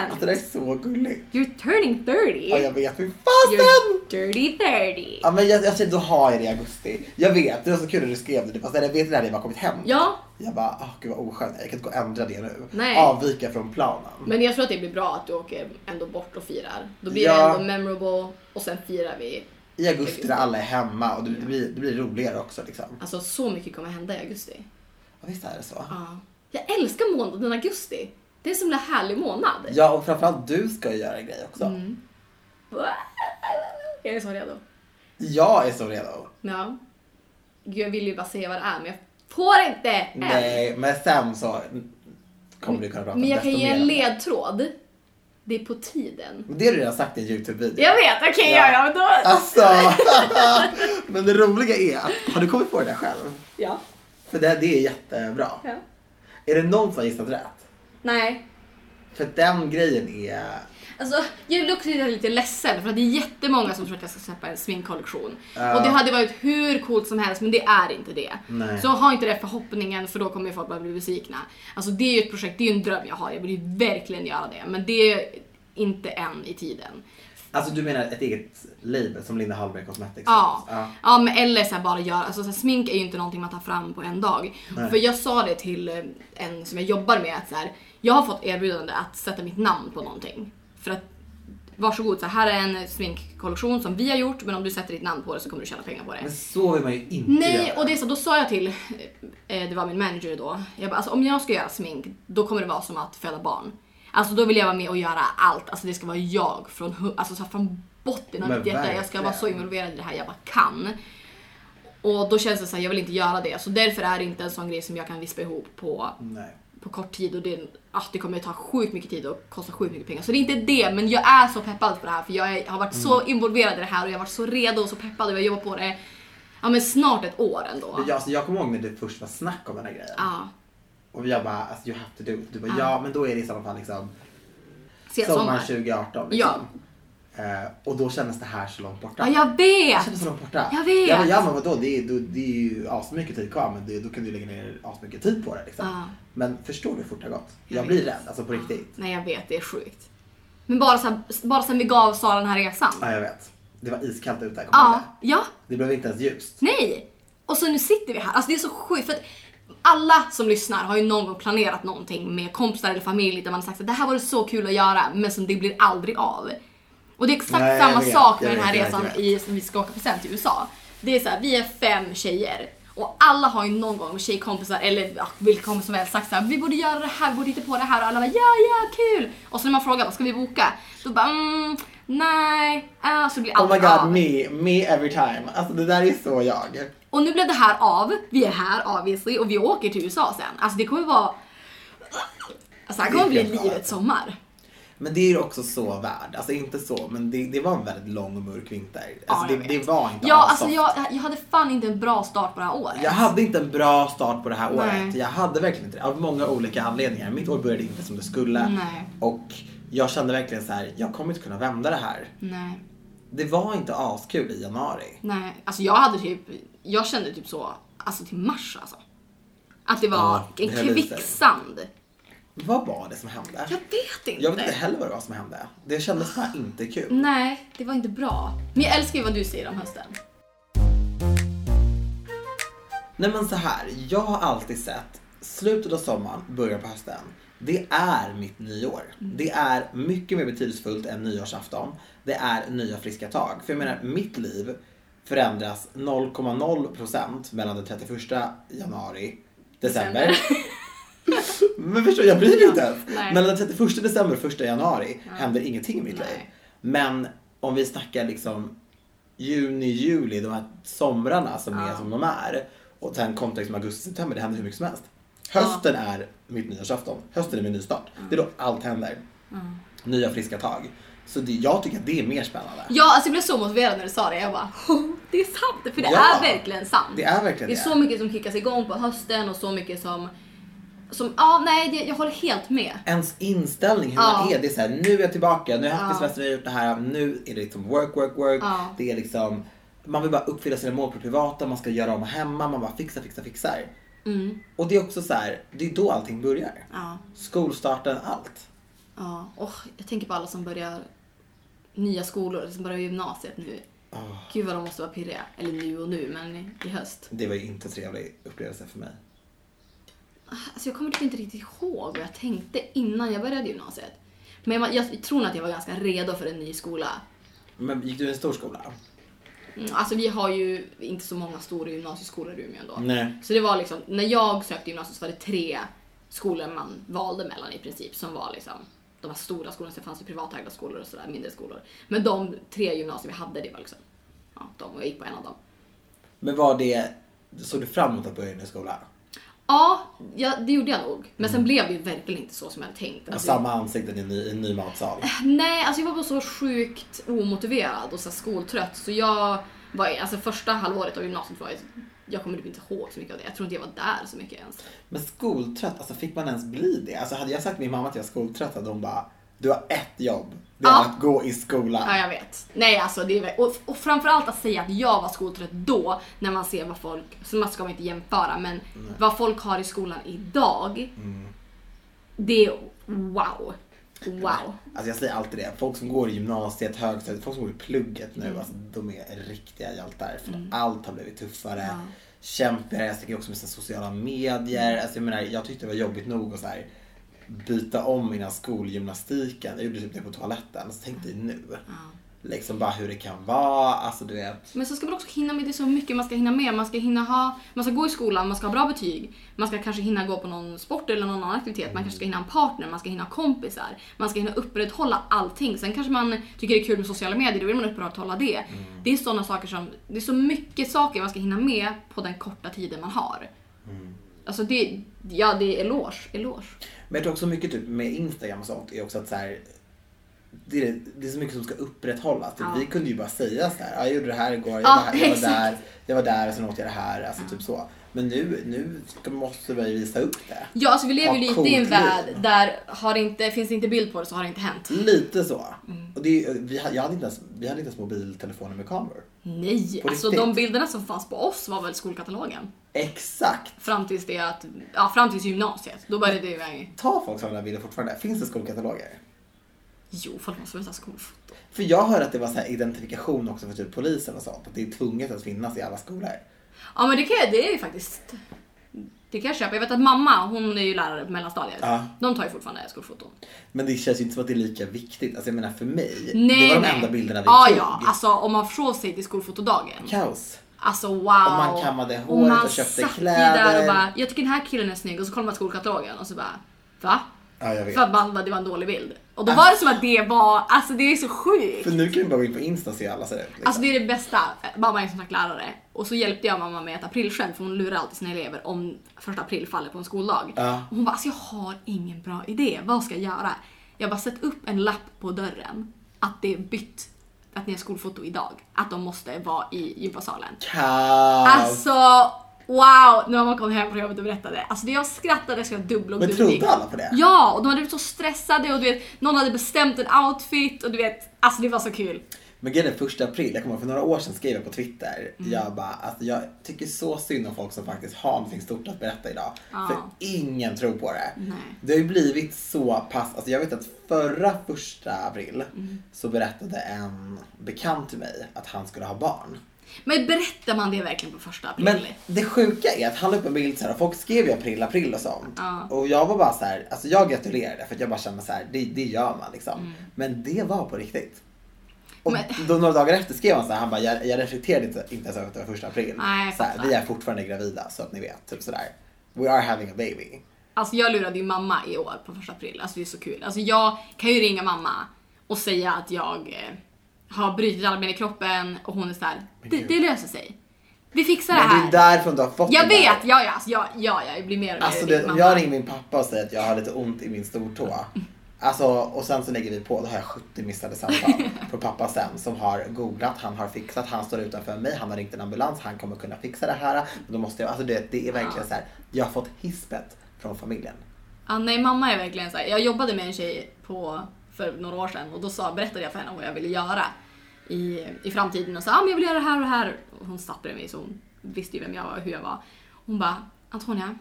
Alltså, det procent! där är så gulligt. You're turning 30. Ja, jag vet. Fy fasen! You're dirty 30. Ja, men jag, jag tänkte, då har jag det i augusti. Jag vet, det var så kul när du skrev det. Du bara, jag vet du när det bara kommit hem? Ja, Jag bara, åh gud vad oskönt. Jag kan inte gå och ändra det nu. Nej. Avvika från planen. Men jag tror att det blir bra att du åker ändå bort och firar. Då blir det Ja. ändå memorable och sen firar vi. I augusti när alla är hemma och det, det, blir, det blir roligare också liksom. Alltså så mycket kommer hända i augusti. Ja, visst är det så? Ja. Jag älskar månaden augusti. Det är en så himla härlig månad. Ja, och framförallt du ska ju göra en grej också. Mm. Jag är så redo. Jag är så redo. Ja. Gud, jag vill ju bara säga vad det är men jag får inte än. Nej, men sen så kommer du kunna prata Men jag desto kan ge mer om en det. ledtråd. Det är på tiden. Men det har du redan sagt i en YouTube-video. Jag vet, okej Ja. ja. ja, men då... Alltså! men det roliga är att, har du kommit på det där själv? Ja. För det, det är jättebra. ja. Är det någon som har gissat rätt? Nej. För den grejen är... Alltså, jag vill också säga lite ledsen för att det är jättemånga som tror att jag ska släppa en sminkkollektion. Ja. Och det hade varit hur coolt som helst men det är inte det. Nej. Så ha inte den förhoppningen för då kommer ju folk bara bli besvikna. Alltså det är ju ett projekt, det är ju en dröm jag har. Jag vill ju verkligen göra det. Men det är inte än i tiden. Alltså du menar ett eget label som Linda Hallberg Cosmetics? Ja. ja. Ja, men eller så här bara göra, alltså så här, smink är ju inte någonting man tar fram på en dag. Nej. För jag sa det till eh, en som jag jobbar med att så här, jag har fått erbjudande att sätta mitt namn på någonting. För att varsågod, så här är en sminkkollektion som vi har gjort men om du sätter ditt namn på det så kommer du tjäna pengar på det. Men så vill man ju inte Nej, göra. och det är så, då sa jag till, eh, det var min manager då, jag bara, alltså, om jag ska göra smink då kommer det vara som att föda barn. Alltså då vill jag vara med och göra allt, alltså det ska vara jag från, hu- alltså, så här, från botten av Men mitt hjärta. Jag ska vara så verkligen. involverad i det här jag bara kan. Och då känns det så här, jag vill inte göra det. Så därför är det inte en sån grej som jag kan vispa ihop på, Nej. på kort tid. Och det, ah, det kommer ta sjukt mycket tid och kosta sjukt mycket pengar. Så det är inte det, men jag är så peppad på det här. För jag är, har varit så Mm. involverad i det här och jag har varit så redo och så peppad och jag har jobbat på det ja, men snart ett år ändå. Men jag, alltså, jag kommer ihåg när det först var snack om den här grejen. Ja, Och jag bara, alltså, you have to do it. Du bara, Ja. ja. men då är det i sådana fall liksom ses sommar Ah. sommar. 2018. Liksom. Ja. Eh, och då kändes det här så långt borta. Ja, jag Det vet! kändes så långt borta. Jag vet. Jag bara, ja men vadå, det är, då, det är ju asmycket tid kvar men det, då kan du lägga ner asmycket tid på det. Liksom. Ja. Men förstår du hur fort det har gått? Ah. Jag Jag, vet. Ah. blir rädd, alltså på riktigt. Nej, jag vet, det är sjukt. Men bara, så här, bara sen vi gav Sara den här resan. Ja, jag vet. Det var iskallt ute, kommer du ihåg Ja, det? ja, Det blev inte ens ljust. nej! Och så nu sitter vi här. Alltså det är så sjukt för att alla som lyssnar har ju någon gång planerat någonting med kompisar eller familj där man har sagt att det här vore så kul att göra men som det blir aldrig av. Och det är exakt Nej, jag samma vet, sak jag med den här vet, jag resan vet, jag i, som vi ska åka på sen till USA. Det är så här, vi är fem tjejer och alla har ju någon gång tjejkompisar eller ja, vilka kompisar som helst sagt så här, vi borde göra det här, vi borde hitta på det här och alla bara ja, ja, kul! Och så när man frågar vad ska vi boka? Då bara mm, nej, ah, så det blir Oh my aldrig god, av. me, me every time. Alltså det där är så jag. Och nu blev det här av. Vi är här obviously och vi åker till USA sen. Alltså det kommer vara... Alltså det här kommer bli livets sommar. Men det är ju också så värd. Alltså inte så, men det, det var en väldigt lång och mörk vinter. Ja, Alltså jag det, vet. det var inte Ja, alls alltså soft. jag, jag hade fan inte en bra start på det här året. Jag hade inte en bra start på det här året. Nej. Jag hade verkligen inte det. Av många olika anledningar. Mitt år började inte som det skulle. Nej, Och jag kände verkligen så här, jag kommer inte kunna vända det här. nej, Det var inte askul i januari. nej. Alltså jag hade typ, jag kände typ så, alltså till mars alltså. Att det var Ja, det en höll i sig. kvicksand. Vad var det som hände? Jag vet inte. Jag vet inte heller vad det var som hände. Det kändes bara inte kul. Nej, det var inte bra. Men jag älskar ju vad du säger om hösten. Nej men så här, jag har alltid sett slutet av sommaren, början på hösten. Det är mitt nyår. Mm. Det är mycket mer betydelsefullt än nyårsafton. Det är nya friska tag. För jag menar, mitt liv förändras 0,0% mellan den 31 januari, december. men förstår du, jag bryr mig inte ens. nej. Mellan den 31 december och 1 januari händer ingenting i mitt Nej. liv. Men om vi snackar liksom juni, juli, de här somrarna som Ja. är som de är. Och sen kontext med augusti, september, det händer hur mycket som helst. Hösten är mitt nyårsafton. Hösten är min nystart. Det är då allt händer. Nya friska tag. Så det, jag tycker att det är mer spännande. Ja, alltså jag blev så motiverad när du sa det. Jag bara, "Ho, det är sant! För det Ja. är verkligen sant. Det är verkligen Det är det. så mycket som kickas igång på hösten och så mycket som... som ja, nej, det, jag håller helt med. Ens inställning, hur Ja. man är. Det är såhär, nu är jag tillbaka, nu har jag haft Ja. det semester, nu har jag gjort det här. Nu är det liksom work, work, work. Ja. Det är liksom, man vill bara uppfylla sina mål på det privata, man ska göra om hemma, man bara fixar, fixar, fixar. Mm. Och det är också så här, det är då allting börjar. Ja. Skolstarten, allt. ja. Och jag tänker på alla som börjar nya skolor, som börjar gymnasiet nu. Åh, Gud vad de måste vara pirriga. Eller nu och nu, men i- i höst. det var ju inte en trevlig upplevelse för mig. Alltså jag kommer typ inte riktigt ihåg vad jag tänkte innan jag började gymnasiet. Men jag, jag tror nog att jag var ganska redo för en ny skola. Men gick du i en stor skola? Mm, Alltså vi har ju inte så många stora gymnasieskolor i Umeå ändå. Nej. Så det var liksom, när jag sökte gymnasiet så var det tre skolor man valde mellan i princip som var liksom de här stora skolorna, sen fanns det privatägda skolor och sådär, mindre skolor. Men de tre gymnasier vi hade, det var liksom, ja, de och jag gick på en av dem. Men var det, såg du fram emot att börja i en ny skola? Ja, ja det gjorde jag nog. Men sen blev det ju verkligen inte så som jag hade tänkt. Och Alltså, samma ansikten i en ny, i en ny matsal? Nej, alltså jag var bara så sjukt omotiverad och så här skoltrött så jag var, alltså första halvåret av gymnasiet var jag, jag kommer typ inte ihåg så mycket av det. Jag tror inte jag var där så mycket ens. Men skoltrött, alltså fick man ens bli det? Alltså hade jag sagt till min mamma att jag var skoltrött hade hon bara, du har ett jobb. Det är Ja. att gå i skolan. Ja, jag vet. Nej, alltså det är, väl- och, och framförallt att säga att jag var skoltrött då när man ser vad folk, så man ska man inte jämföra, men vad folk har i skolan idag. Det är wow. Wow. Alltså jag säger alltid det, folk som går i gymnasiet, högstadiet, folk som går i plugget nu, Mm. alltså, de är riktiga hjältar. För allt har blivit tuffare, Ja. kämpigare, jag tänker också med sina sociala medier. Mm. Alltså jag menar, jag tyckte det var jobbigt nog att så här, byta om innan skolgymnastiken. Jag gjorde typ det på toaletten. Så tänkte jag nu, liksom bara hur det kan vara. Alltså du vet. Men så ska man också hinna med, det är så mycket man ska hinna med. Man ska hinna ha, man ska gå i skolan, man ska ha bra betyg. Man ska kanske hinna gå på någon sport eller någon annan aktivitet. Man kanske ska hinna ha en partner, man ska hinna ha kompisar. Man ska hinna upprätthålla allting. Sen kanske man tycker det är kul med sociala medier, då vill man upprätthålla det. Mm. Det är sådana saker som, det är så mycket saker man ska hinna med på den korta tiden man har. Mm. Alltså det, ja det är eloge, eloge. Men jag tror också mycket typ med Instagram och sånt är också att så här, det är, det är så mycket som ska upprätthållas. Typ, Ja. Vi kunde ju bara säga så här, "Ja, jag gjorde det här igår, jag, Ja, var, här, jag var exakt. där, jag var där och sen åt jag det här. Alltså typ så. Men nu, nu ska, måste vi visa upp det. Ja alltså vi lever ju Ha lite i en coolt värld liv. där har det inte, finns det inte bild på det så har det inte hänt. Lite så. Mm. Och det, är- vi, ha- jag hade inte ens, vi hade inte ens mobiltelefoner med kameror. Nej, På alltså riktigt? de bilderna som fanns på oss var väl skolkatalogen? Exakt! Fram tills det att, ja fram tills gymnasiet, då började det iväg. Ta folk som den här bilden fortfarande. Finns det skolkataloger? Jo, folk måste väl ta skolfoto. För jag hör att det var så här identifikation också för typ polisen och sånt. Att det är tvunget att finnas i alla skolor. Ja men det kan jag, det är ju faktiskt, det kan jag köpa. Jag vet att mamma, hon är ju lärare på mellanstadiet. Ja. De tar ju fortfarande skolfoton. Men det känns ju inte som att det är lika viktigt. Alltså jag menar för mig. det Nej, var de nej. enda bilderna vi ja, tog. Ja, alltså om man försov sig till skolfotodagen. Kaos. Alltså wow. Och man kammade Och håret man och köpte satt ju där kläder. och bara, jag tycker den här killen är snygg och så kollar man skolkatalogen och så bara, va? Ja jag vet. För att man bara, det var en dålig bild. Och då var det som att det var, alltså det är så sjukt. För nu kan vi bara gå in på Insta och se hur alla ser ut. Liksom. Alltså det är det bästa. Mamma är som sagt lärare. Och så hjälpte jag mamma med ett aprilskämt för hon lurar alltid sina elever om första april faller på en skoldag. Ja. Och hon bara, alltså jag har ingen bra idé. Vad ska jag göra? Jag bara sätt upp en lapp på dörren att det är bytt, att ni har skolfoto idag. Att de måste vara i gympasalen. Kaos! Alltså wow! När man kom hem från jobbet och berättade. Alltså det jag skrattade så jag dubblade men trodde alla på det? Ja, och de hade blivit så stressade och du vet, någon hade bestämt en outfit och du vet, alltså det var så kul. Men grejen är första april, jag kommer ihåg för några år sedan skrev jag på Twitter, Mm. jag bara, alltså jag tycker så synd om folk som faktiskt har någonting stort att berätta idag. Ja. För ingen tror på det. Nej. Det har ju blivit så pass, alltså jag vet att förra första april Mm. så berättade en bekant till mig att han skulle ha barn. Men berättar man det verkligen på första april? Men det sjuka är att han la upp en bild så här, och folk skrev ju april, april och sånt. Ja. Och jag var bara så här, alltså jag gratulerade för att jag bara kände så här, det, det gör man liksom. Men det var på riktigt. Och Mm. Men- då några dagar efter skrev han så här, han bara, jag, jag reflekterade inte, inte ens över att det var första april. Nej, jag så här, fattar. vi är fortfarande gravida så att ni vet, typ sådär. We are having a baby. Alltså jag lurade ju mamma i år på första april, alltså det är så kul. Alltså jag kan ju ringa mamma och säga att jag eh, har brutit alla ben i kroppen och hon är såhär, Men det, gud. det löser sig. Vi fixar det Men här. det är därifrån du har fått jag det där. vet, ja ja, alltså, ja, ja, jag blir mer och mer Alltså lik det, om mamma. Mm. jag ringer min pappa och säger att jag har lite ont i min stortå. Alltså, och sen så lägger vi på, då har jag 70 missade samtal från pappa sen som har googlat, han har fixat, han står utanför mig, han har ringt en ambulans, han kommer kunna fixa det här. Men då måste jag, alltså det, det är verkligen så här, jag har fått hispet från familjen. Ja, nej, mamma är verkligen såhär. Jag jobbade med en tjej på, för några år sedan och då sa, berättade jag för henne vad jag ville göra i, i framtiden och sa ah, men jag vill göra det här och det här. Och hon satt bredvid mig så hon visste ju vem jag var och hur jag var. Hon bara Antonia,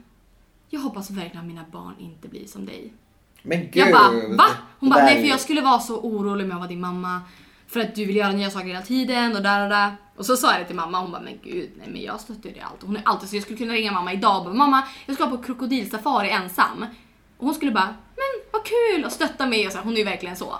jag hoppas verkligen att mina barn inte blir som dig. Men gud! Jag bara va? Hon Det bara där nej är för ju- jag skulle vara så orolig om jag var din mamma. För att du vill göra nya saker hela tiden och där och där. Och så sa jag det till mamma hon bara men gud nej men jag stöttar ju dig i allt. Och Hon är alltid så jag skulle kunna ringa mamma idag och bara mamma jag ska på krokodilsafari ensam. Och hon skulle bara men vad kul och stötta mig och så här, hon är ju verkligen så.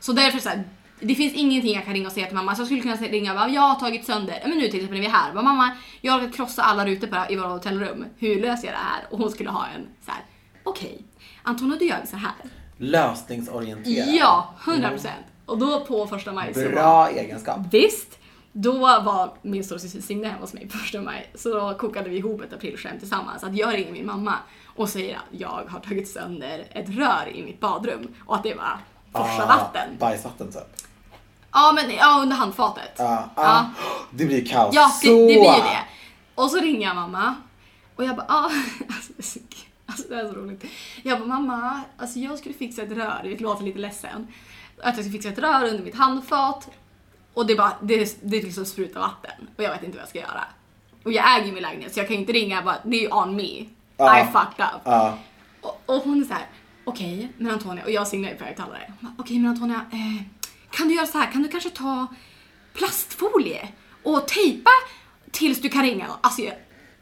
Så därför så här, det finns ingenting jag kan ringa och säga till mamma. Så jag skulle kunna ringa och bara jag har tagit sönder, ja, men nu till exempel när vi är här, bara, mamma jag har råkat krossa alla rutor på, i våra hotellrum. Hur löser jag det här? Och hon skulle ha en så här okej Antonio du gör så här. Lösningsorienterad. Ja, 100 procent. Och då på första maj så var, Bra egenskap. Visst, då var min storasyster Signe hemma hos mig på första maj. Så då kokade vi ihop ett aprilskämt tillsammans. Att jag ringer min mamma och säger att jag har tagit sönder ett rör i mitt badrum och att det var forsa vatten. Ah, bajsvatten typ. Ja, men ja, under handfatet. Ja, ah, Ja. Det blir kaos. Ja, så. det, det blir ju det. Och så ringer jag mamma. Och jag bara, ah, alltså, det är så kul. alltså det här är så roligt. Jag bara, mamma, alltså jag skulle fixa ett rör. Jag låter lite ledsen. Att jag ska fixa ett rör under mitt handfat. Och det bara, det, det liksom sprutar vatten. Och jag vet inte vad jag ska göra. Och jag äger ju min lägenhet så jag kan ju inte ringa bara, det är ju on me. Ja. I fucked up. Ah. Och, och hon är så här, okej, men Antonia, och jag signar ju på högtalare. Hon bara, Okej, men Antonia, eh, kan du göra så här, kan du kanske ta plastfolie och tejpa tills du kan ringa någon? Alltså jag,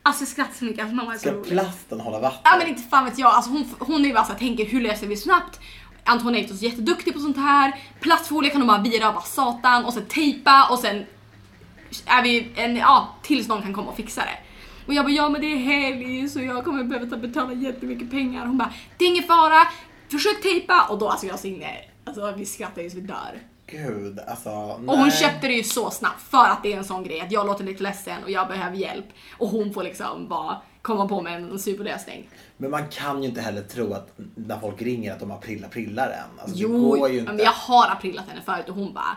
alltså jag skrattar så mycket, alltså mamma är så Ska rolig. plasten hålla vatten? Ja men inte fan vet jag, alltså hon, hon är ju bara så här, tänker hur löser vi snabbt? Antonia är förstås jätteduktig på sånt här. Plastfolie kan hon bara vira och bara satan och sen tejpa och sen är vi en, ja, tills någon kan komma och fixa det. Och jag bara, ja men det är helg så jag kommer behöva ta- betala jättemycket pengar. Hon bara, det är ingen fara, försök tejpa. Och då alltså jag Signe, alltså vi skrattar ju så vi dör. Gud, alltså. Och hon nej. köpte det ju så snabbt för att det är en sån grej att jag låter lite ledsen och jag behöver hjälp. Och hon får liksom bara komma på med en superlösning. Men man kan ju inte heller tro att när folk ringer att de har prilla prillar än. Alltså, det Jo, går ju inte. men jag har aprilat henne förut och hon bara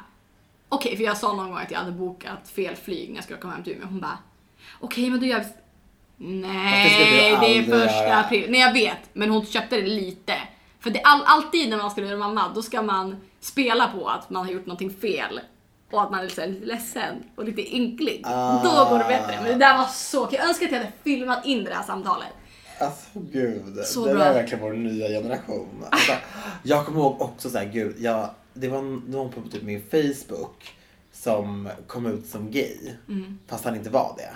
Okej, för jag sa någon gång att jag hade bokat fel flyg när jag skulle komma hem till Umeå. Hon bara Okej, men då gör vi... Fast det Nej, ska du det är aldrig första göra. april. Nej, jag vet. Men hon köpte det lite. För det är all, alltid när man ska bli mamma, då ska man spela på att man har gjort någonting fel. Och att man är så här lite ledsen och lite ynklig. Ah. Då går det bättre. Men det där var så kul. Jag önskar att jag hade filmat in det här samtalet. Alltså gud, Så det bra. där är verkligen vår nya generation. Alltså, jag kommer ihåg också så här, gud, jag, det var någon på typ min Facebook som kom ut som gay. Mm. Fast han inte var det.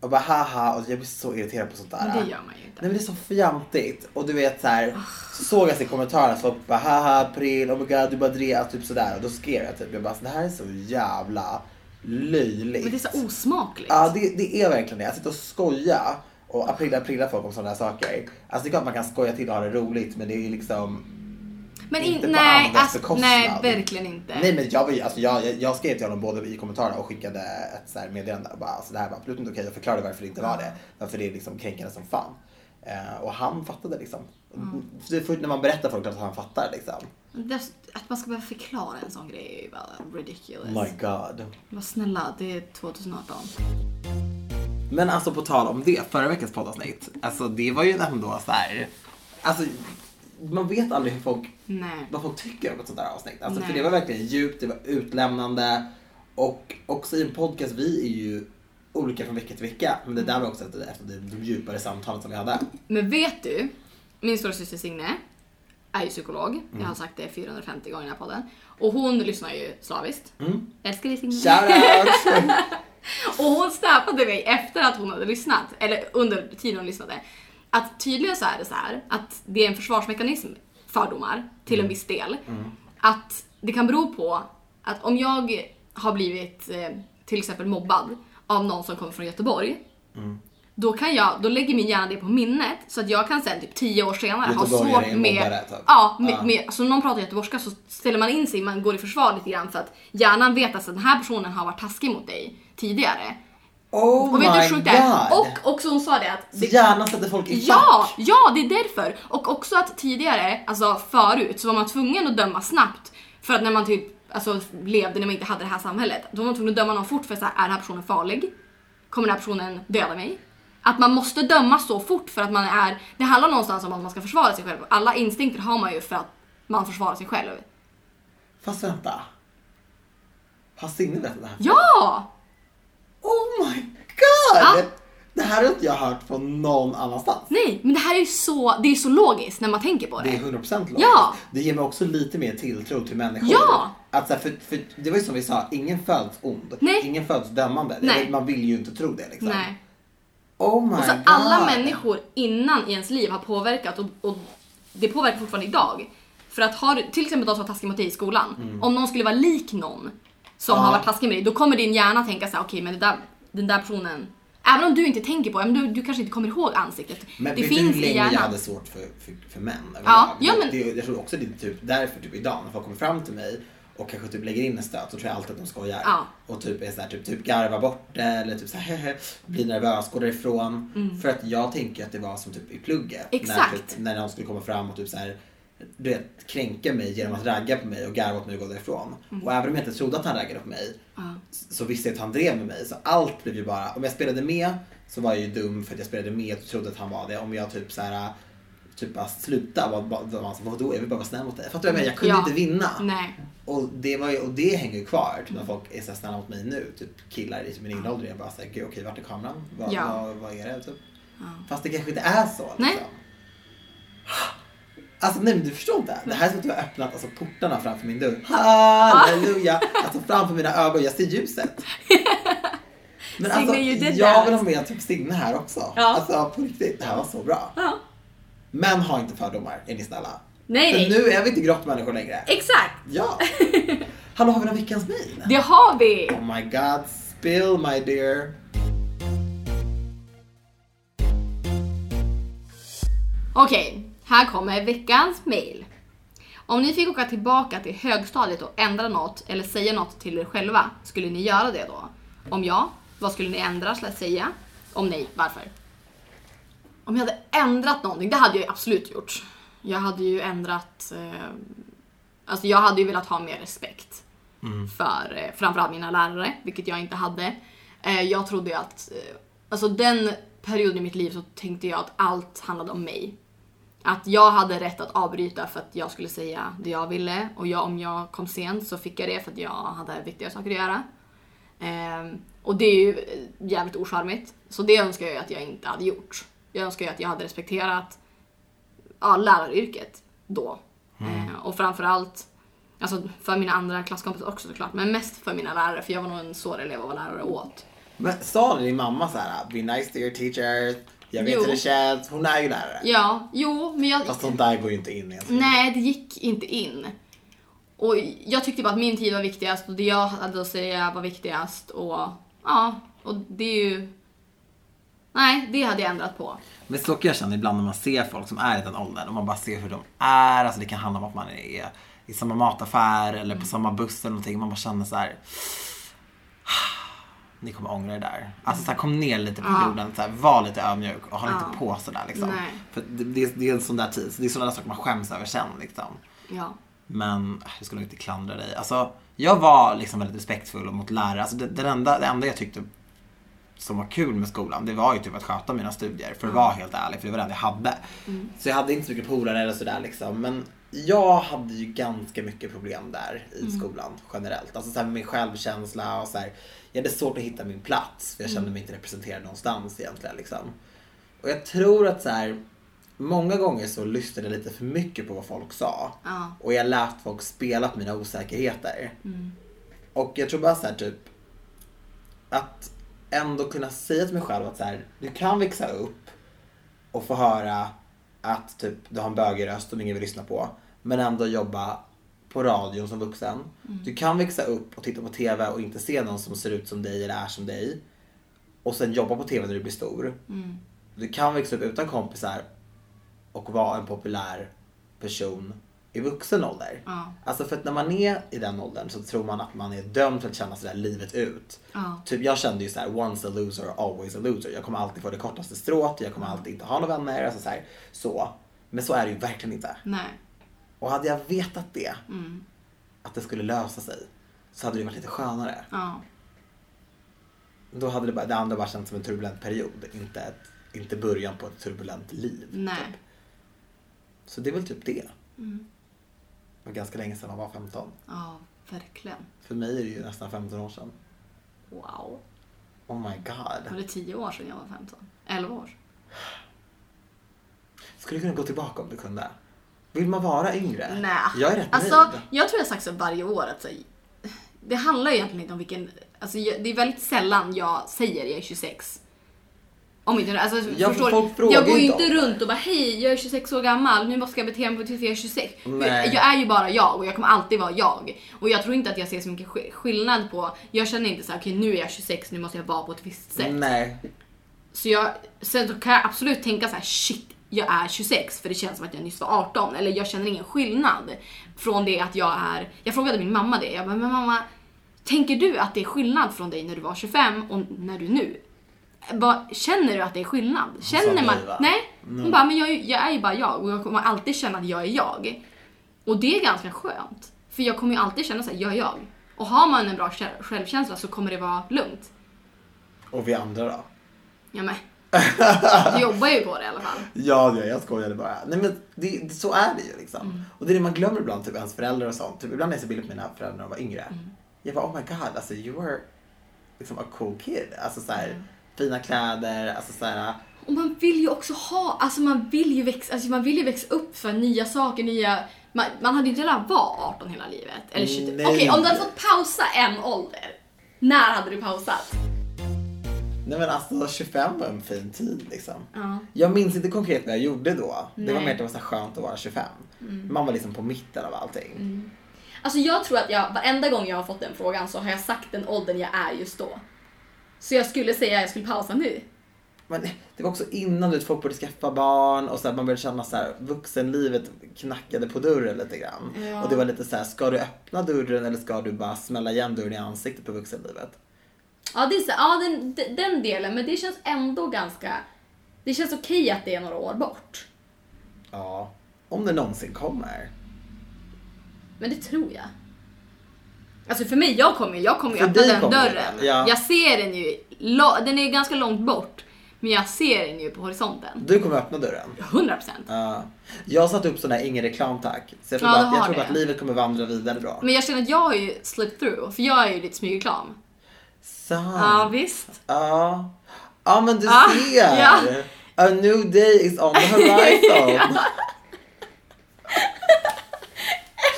Och bara haha, och jag blir så irriterad på sånt där. Men det gör man ju inte. Nej men det är så fjantigt. Och du vet så här, så såg jag i kommentarerna så folk bara haha april, oh my god du bara drev, typ sådär. Och då skrev jag typ, jag bara det här är så jävla löjligt. Men det är så osmakligt. Ja, det, det är verkligen det. Att sitta och skoja och aprila aprila folk om sådana här saker. Alltså det är klart man kan skoja till och ha det roligt men det är ju liksom... Men Inte in, på nej, andras ass- bekostnad. nej, verkligen inte. Nej men jag, var ju, alltså jag, jag, jag skrev till honom både i kommentarerna och skickade Alltså, ett så här meddelande och bara alltså det här var absolut inte okej. Jag förklarade varför det inte var det. Varför det är liksom kränkande som fan. Eh, och han fattade liksom. Det är först när man berättar för folk att han fattar liksom. Det- Att man ska behöva förklara en sån grej är ju bara ridiculous. My god. Men snälla, det är 2018. Men alltså på tal om det, förra veckans poddavsnitt. Alltså det var ju ändå så här. Alltså man vet aldrig hur folk, Nej. vad folk tycker om ett sånt där avsnitt. Alltså för Nej. det var verkligen djupt, det var utlämnande. Och också i en podcast, vi är ju olika från vecka till vecka. Men det där var också ett ett av de djupare samtalen som vi hade. Men vet du, min stora syster Signe är ju psykolog. Jag Mm. har sagt det 450 gånger i den här podden. Och hon lyssnar ju slaviskt. Mm. Älskar dig Signe. Shoutout! Och hon snappade mig efter att hon hade lyssnat, eller under tiden hon lyssnade. Att tydligen så är det så här att det är en försvarsmekanism, fördomar, till Mm. en viss del. Att det kan bero på att om jag har blivit eh, till exempel mobbad av någon som kommer från Göteborg. Då, kan jag, då lägger min hjärna det på minnet så att jag kan sen typ tio år senare ha Göteborgare svårt är med... mobbare, typ. Ja, med, Ja. med, alltså om någon pratar göteborgska så ställer man in sig, man går i försvar lite grann för att hjärnan vet att den här personen har varit taskig mot dig tidigare. Oh my Och vet du hur sjukt det är? god! Och också hon sa det att... Så Det, gärna sätter folk i ja, fack. ja, det är därför! Och också att tidigare, alltså förut, så var man tvungen att döma snabbt. För att när man typ alltså, levde när man inte hade det här samhället, då var man tvungen att döma någon fort för så här, är den här personen farlig? Kommer den här personen döda mig? Att man måste döma så fort för att man är... Det handlar någonstans om att man ska försvara sig själv. Alla instinkter har man ju för att man försvarar sig själv. Fast vänta. Har Signe berättat det här? Ja! Oh my god! Ja. Det här har inte jag hört från någon annanstans. Nej, men det här är ju så, det är ju så logiskt när man tänker på det. Det är 100% logiskt. Ja. Det ger mig också lite mer tilltro till människor. Ja. Att, så här, för, för det var ju som vi sa, ingen föds ond. Nej. Ingen föds dömande. Nej. Man vill ju inte tro det liksom. Nej. Oh my Och så god. alla människor innan i ens liv har påverkat och, och det påverkar fortfarande idag. För att har du, till exempel de som var taskiga mot dig i skolan, om någon skulle vara lik någon som Mm. Ja. har varit taskig med dig, då kommer din hjärna tänka så här: okej men det där, den där personen, även om du inte tänker på det, men du, du kanske inte kommer ihåg ansiktet. Men det vet du finns hur i länge jag hjärnan. hade svårt för, för, för män? Ja, överlag? ja, men- det, jag tror också det är typ därför typ idag när folk kommer fram till mig och kanske typ lägger in en stöt så tror jag alltid att de skojar. Ja. Och typ, är så här, typ, typ garvar bort det eller typ så här, hehe, blir nervös, går därifrån. För att jag tänker att det var som typ i plugget. När, Mm. Exakt. typ, när någon skulle komma fram och typ så här, du vet, kränka mig genom att ragga på mig och garva åt mig och gå därifrån. Mm. Och även om jag inte trodde att han raggade på mig så visste jag att han drev med mig. Så allt blev ju bara, om jag spelade med så var jag ju dum för att jag spelade med och trodde att han var det. Om jag typ så här typ bara sluta, var, var, var man så, alltså, vadå jag vill bara vara snäll mot dig. Fattar du vad jag menar? Jag kunde Ja. inte vinna. Nej. Och det, var ju, och det hänger ju kvar typ, Mm. när folk är så här snälla mot mig nu. Typ killar i min egen ålder. Jag bara såhär, gud okej vart är kameran? Vad, Ja. vad, vad är det? Typ. Fast det kanske inte är så. Liksom. Nej. Alltså nej men du förstår inte. Det här är som att du har öppnat alltså, portarna framför min dörr. Halleluja! Alltså framför mina ögon, jag ser ljuset. Men Signe, alltså, you did jag that. vill ha med typ Signe här också. Ja. Alltså på riktigt, det här var så bra. Ja. Men ha inte fördomar, är ni snälla. Nej, nej. För nu är vi inte grottmänniskor längre. Exakt! Ja. Hallå, har vi någon veckans mail? Det har vi! Oh my god, spill my dear. Okej, här kommer veckans mail. Om ni fick åka tillbaka till högstadiet och ändra något eller säga något till er själva, skulle ni göra det då? Om ja, vad skulle ni ändra slash säga? Om nej, varför? Om jag hade ändrat någonting, det hade jag ju absolut gjort. Jag hade ju ändrat... Eh, alltså jag hade ju velat ha mer respekt för eh, framförallt mina lärare, vilket jag inte hade. Eh, jag trodde ju att, eh, alltså den perioden i mitt liv så tänkte jag att allt handlade om mig. Att jag hade rätt att avbryta för att jag skulle säga det jag ville och jag, om jag kom sent så fick jag det för att jag hade viktiga saker att göra. Ehm, och det är ju eh, jävligt ocharmigt. Så det önskar jag ju att jag inte hade gjort. Jag önskar ju att jag hade respekterat ja, läraryrket då. Eh, och framförallt alltså för mina andra klasskompisar också såklart, men mest för mina lärare för jag var nog en svår elev att vara lärare åt. Men sa din mamma så här, be nice to your teachers, jag vet Jo. hur det känns. Hon är ju lärare. Ja, jo, men jag... Fast sånt där går ju inte in i ens Nej, det gick inte in. Och jag tyckte bara att min tid var viktigast och det jag hade att säga var viktigast och ja, och det är ju... Nej, det hade jag ändrat på. Men så kan jag känna ibland när man ser folk som är i den åldern och man bara ser hur de är. Alltså det kan handla om att man är i Mm. samma mataffär eller på samma buss eller någonting. Man bara känner så här. ni kommer ångra er där. Alltså så här, kom ner lite på Ja. jorden, så här, var lite ödmjuk och håll Ja. inte på sådär liksom. Nej. För det, det, är- det är en sån där tid, så det är sådana där saker man skäms över sen liksom. Ja. Men äh, jag skulle nog inte klandra dig. Alltså, jag var liksom väldigt respektfull mot lärare. Alltså, det, den enda, det enda jag tyckte som var kul med skolan, det var ju typ att sköta mina studier. För att vara helt ärlig, för det var det enda jag hade. Så jag hade inte så mycket polare eller sådär liksom. Men jag hade ju ganska mycket problem där i skolan generellt. Alltså såhär med min självkänsla och såhär. Jag hade svårt att hitta min plats. För jag kände mig inte representerad någonstans egentligen liksom. Och jag tror att såhär, många gånger så lyssnade jag lite för mycket på vad folk sa. Ja. Och jag lät folk spela på mina osäkerheter. Och jag tror bara så här typ att ändå kunna säga till mig själv att så här, du kan växa upp och få höra att typ du har en bögig röst som ingen vill lyssna på. Men ändå jobba på radion som vuxen. Du kan växa upp och titta på TV och inte se någon som ser ut som dig eller är som dig. Och sen jobba på TV när du blir stor. mm, Du kan växa upp utan kompisar och vara en populär person i vuxen ålder. Ja. Alltså för att när man är i den åldern så tror man att man är dömd till att känna sådär livet ut. Ja. Typ jag kände ju såhär, once a loser, always a loser. Jag kommer alltid få det kortaste strået, jag kommer alltid inte ha några vänner. Alltså så, här, så. Men så är det ju verkligen inte. Nej. mm, Och hade jag vetat det, att det skulle lösa sig, så hade det varit lite skönare. Ja. Då hade det, bara, det andra bara känts som en turbulent period, inte, ett, inte början på ett turbulent liv. Nej. Så det är väl typ det. Mm. Det var ganska länge sedan man var 15. Ja, verkligen. För mig är det ju nästan 15 år sedan. Wow. Oh my Var god. det tio år sedan jag var 15? 11 år? Skulle du kunna gå tillbaka om du kunde? Vill man vara yngre? Nej. Äh, Jag är rätt alltså, nöjd. Jag tror jag har sagt så varje år att så, det handlar egentligen inte om vilken... Alltså, jag, det är väldigt sällan jag säger jag är 26. Om inte, alltså, Ja, förstår, folk frågar jag går ju inte inte om det. runt och bara hej jag är 26 år gammal, nu måste jag bete mig på ett sätt för jag är 26. För Nej. Jag är ju bara jag och jag kommer alltid vara jag. Och jag tror inte att jag ser så mycket sk- skillnad på, jag känner inte så här, okej nu är jag 26, nu måste jag vara på ett visst sätt. Nej. Så jag, sen så kan jag absolut tänka så här: shit, jag är 26 för det känns som att jag nyss var 18. Eller jag känner ingen skillnad från det att jag är, jag frågade min mamma det, jag bara, men mamma, tänker du att det är skillnad från dig när du var 25 och när du nu? Vad- känner du att det är skillnad? Känner sa man? nej, va? Mm. Nej. Hon bara, men jag, är ju- jag är ju bara jag och jag kommer alltid känna att jag är jag. Och det är ganska skönt. För jag kommer ju alltid känna såhär, jag är jag. Och har man en bra själv- självkänsla så kommer det vara lugnt. Och vi andra då? Ja men. Du jobbar ju på det i alla fall. Ja, det gör jag. jag skojade bara. Nej, men det, det, så är det ju liksom. Mm. Och det är det man glömmer ibland, typ ens föräldrar och sånt. Typ, ibland är jag så bild på mina föräldrar när de var yngre. Mm. Jag bara, oh my god, alltså you were liksom a cool kid. Alltså så Mm. här, fina kläder, alltså så här, Och man vill ju också ha, alltså man vill ju växa, alltså man vill ju växa upp för nya saker, nya... Man, man hade ju inte velat vara 18 hela livet. Eller 20. Nej. Okej, om du hade fått pausa en ålder, när hade du pausat? Nej men alltså 25 var en fin tid liksom. Ja. Jag minns inte konkret vad jag gjorde då. Det var Nej. Mm. mer att det var så här skönt att vara 25. Man var liksom på mitten av allting. Alltså jag tror att jag, varenda gång jag har fått den frågan så har jag sagt den åldern jag är just då. Så jag skulle säga att jag skulle pausa nu. Men det var också innan du vet, folk började skaffa barn och så här, man började känna så här, vuxenlivet knackade på dörren lite grann. Ja. Och det var lite så här, ska du öppna dörren eller ska du bara smälla igen dörren i ansiktet på vuxenlivet? Ja, det är så, ja den, den- den delen, men det känns ändå ganska... Det känns okej att det är några år bort. Ja. Om det någonsin kommer. Men det tror jag. Alltså för mig, jag kommer ju jag kommer ju För öppna dig den kommer det, dörren. ja. Jag ser den ju, la- den är ju ganska långt bort. Men jag ser den ju på horisonten. Du kommer öppna dörren. 100 procent. Ja. jag satte upp sån här ingen reklam tack. Så jag tror, Ja, bara du att, jag har tror bara det. att livet kommer vandra vidare då. Men jag känner att jag har ju slipped through, för jag är ju lite smygreklam. Sant. Ja, visst. Ja. Ja men du Ja, ser! ja. A new day is on the horizon.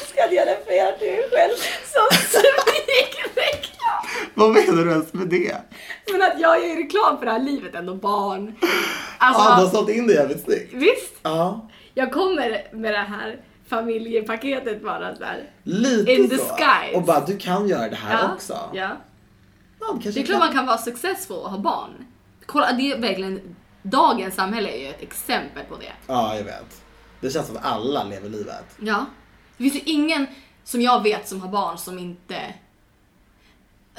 Ska jag referera till mig själv som smygreklam? Vad menar du ens med det? Men att jag är ju reklam för det här livet ändå, barn. Ja, Ah, du har Alltså, sålt in det jävligt snyggt. visst. Ja. Jag kommer med det här familjepaketet bara där. Lite In the så. skies. Och bara, du kan göra det här också. Ja. Man kanske Det är klart man kan vara successful och ha barn. Kolla, det är verkligen... Dagens samhälle är ju ett exempel på det. Ja, jag vet. Det känns som att alla lever livet. Ja. Det finns ju ingen som jag vet som har barn som inte...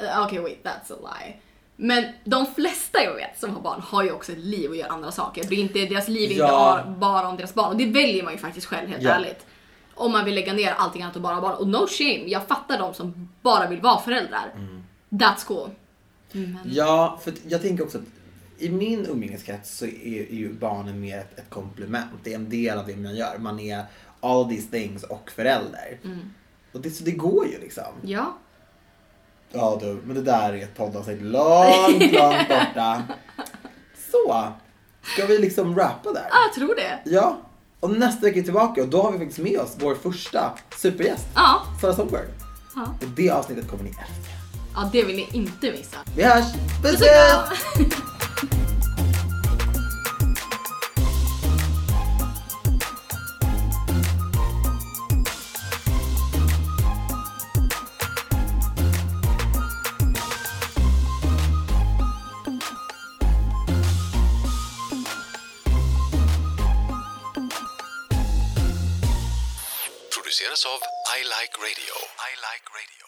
Eh, Okej, wait, that's a lie. Men de flesta jag vet som har barn har ju också ett liv och gör andra saker. Det är inte, deras liv är Ja. inte ar- bara om deras barn. Och det väljer man ju faktiskt själv helt Ja. ärligt. Om man vill lägga ner allting annat och bara ha barn. Och no shame, jag fattar de som bara vill vara föräldrar. That's cool. Men, Ja, för att jag tänker också att i min umgängeskrets så är ju barnen mer ett, ett komplement. Det är en del av det man gör. Man är all these things och förälder. Mm. Och det, så det går ju liksom. ja. Ja du, men det där är ett poddavsnitt långt, långt borta. Så, ska vi liksom rappa där? Ja, jag tror det. Ja, och nästa vecka är vi tillbaka och då har vi faktiskt med oss vår första supergäst, Ja. Sara Sonberg. Ja. Och det avsnittet kommer ni älska. ja, det vill ni inte missa. Vi hörs! Puss Puss och puss! kram! produceras av I Like Radio. I Like Radio.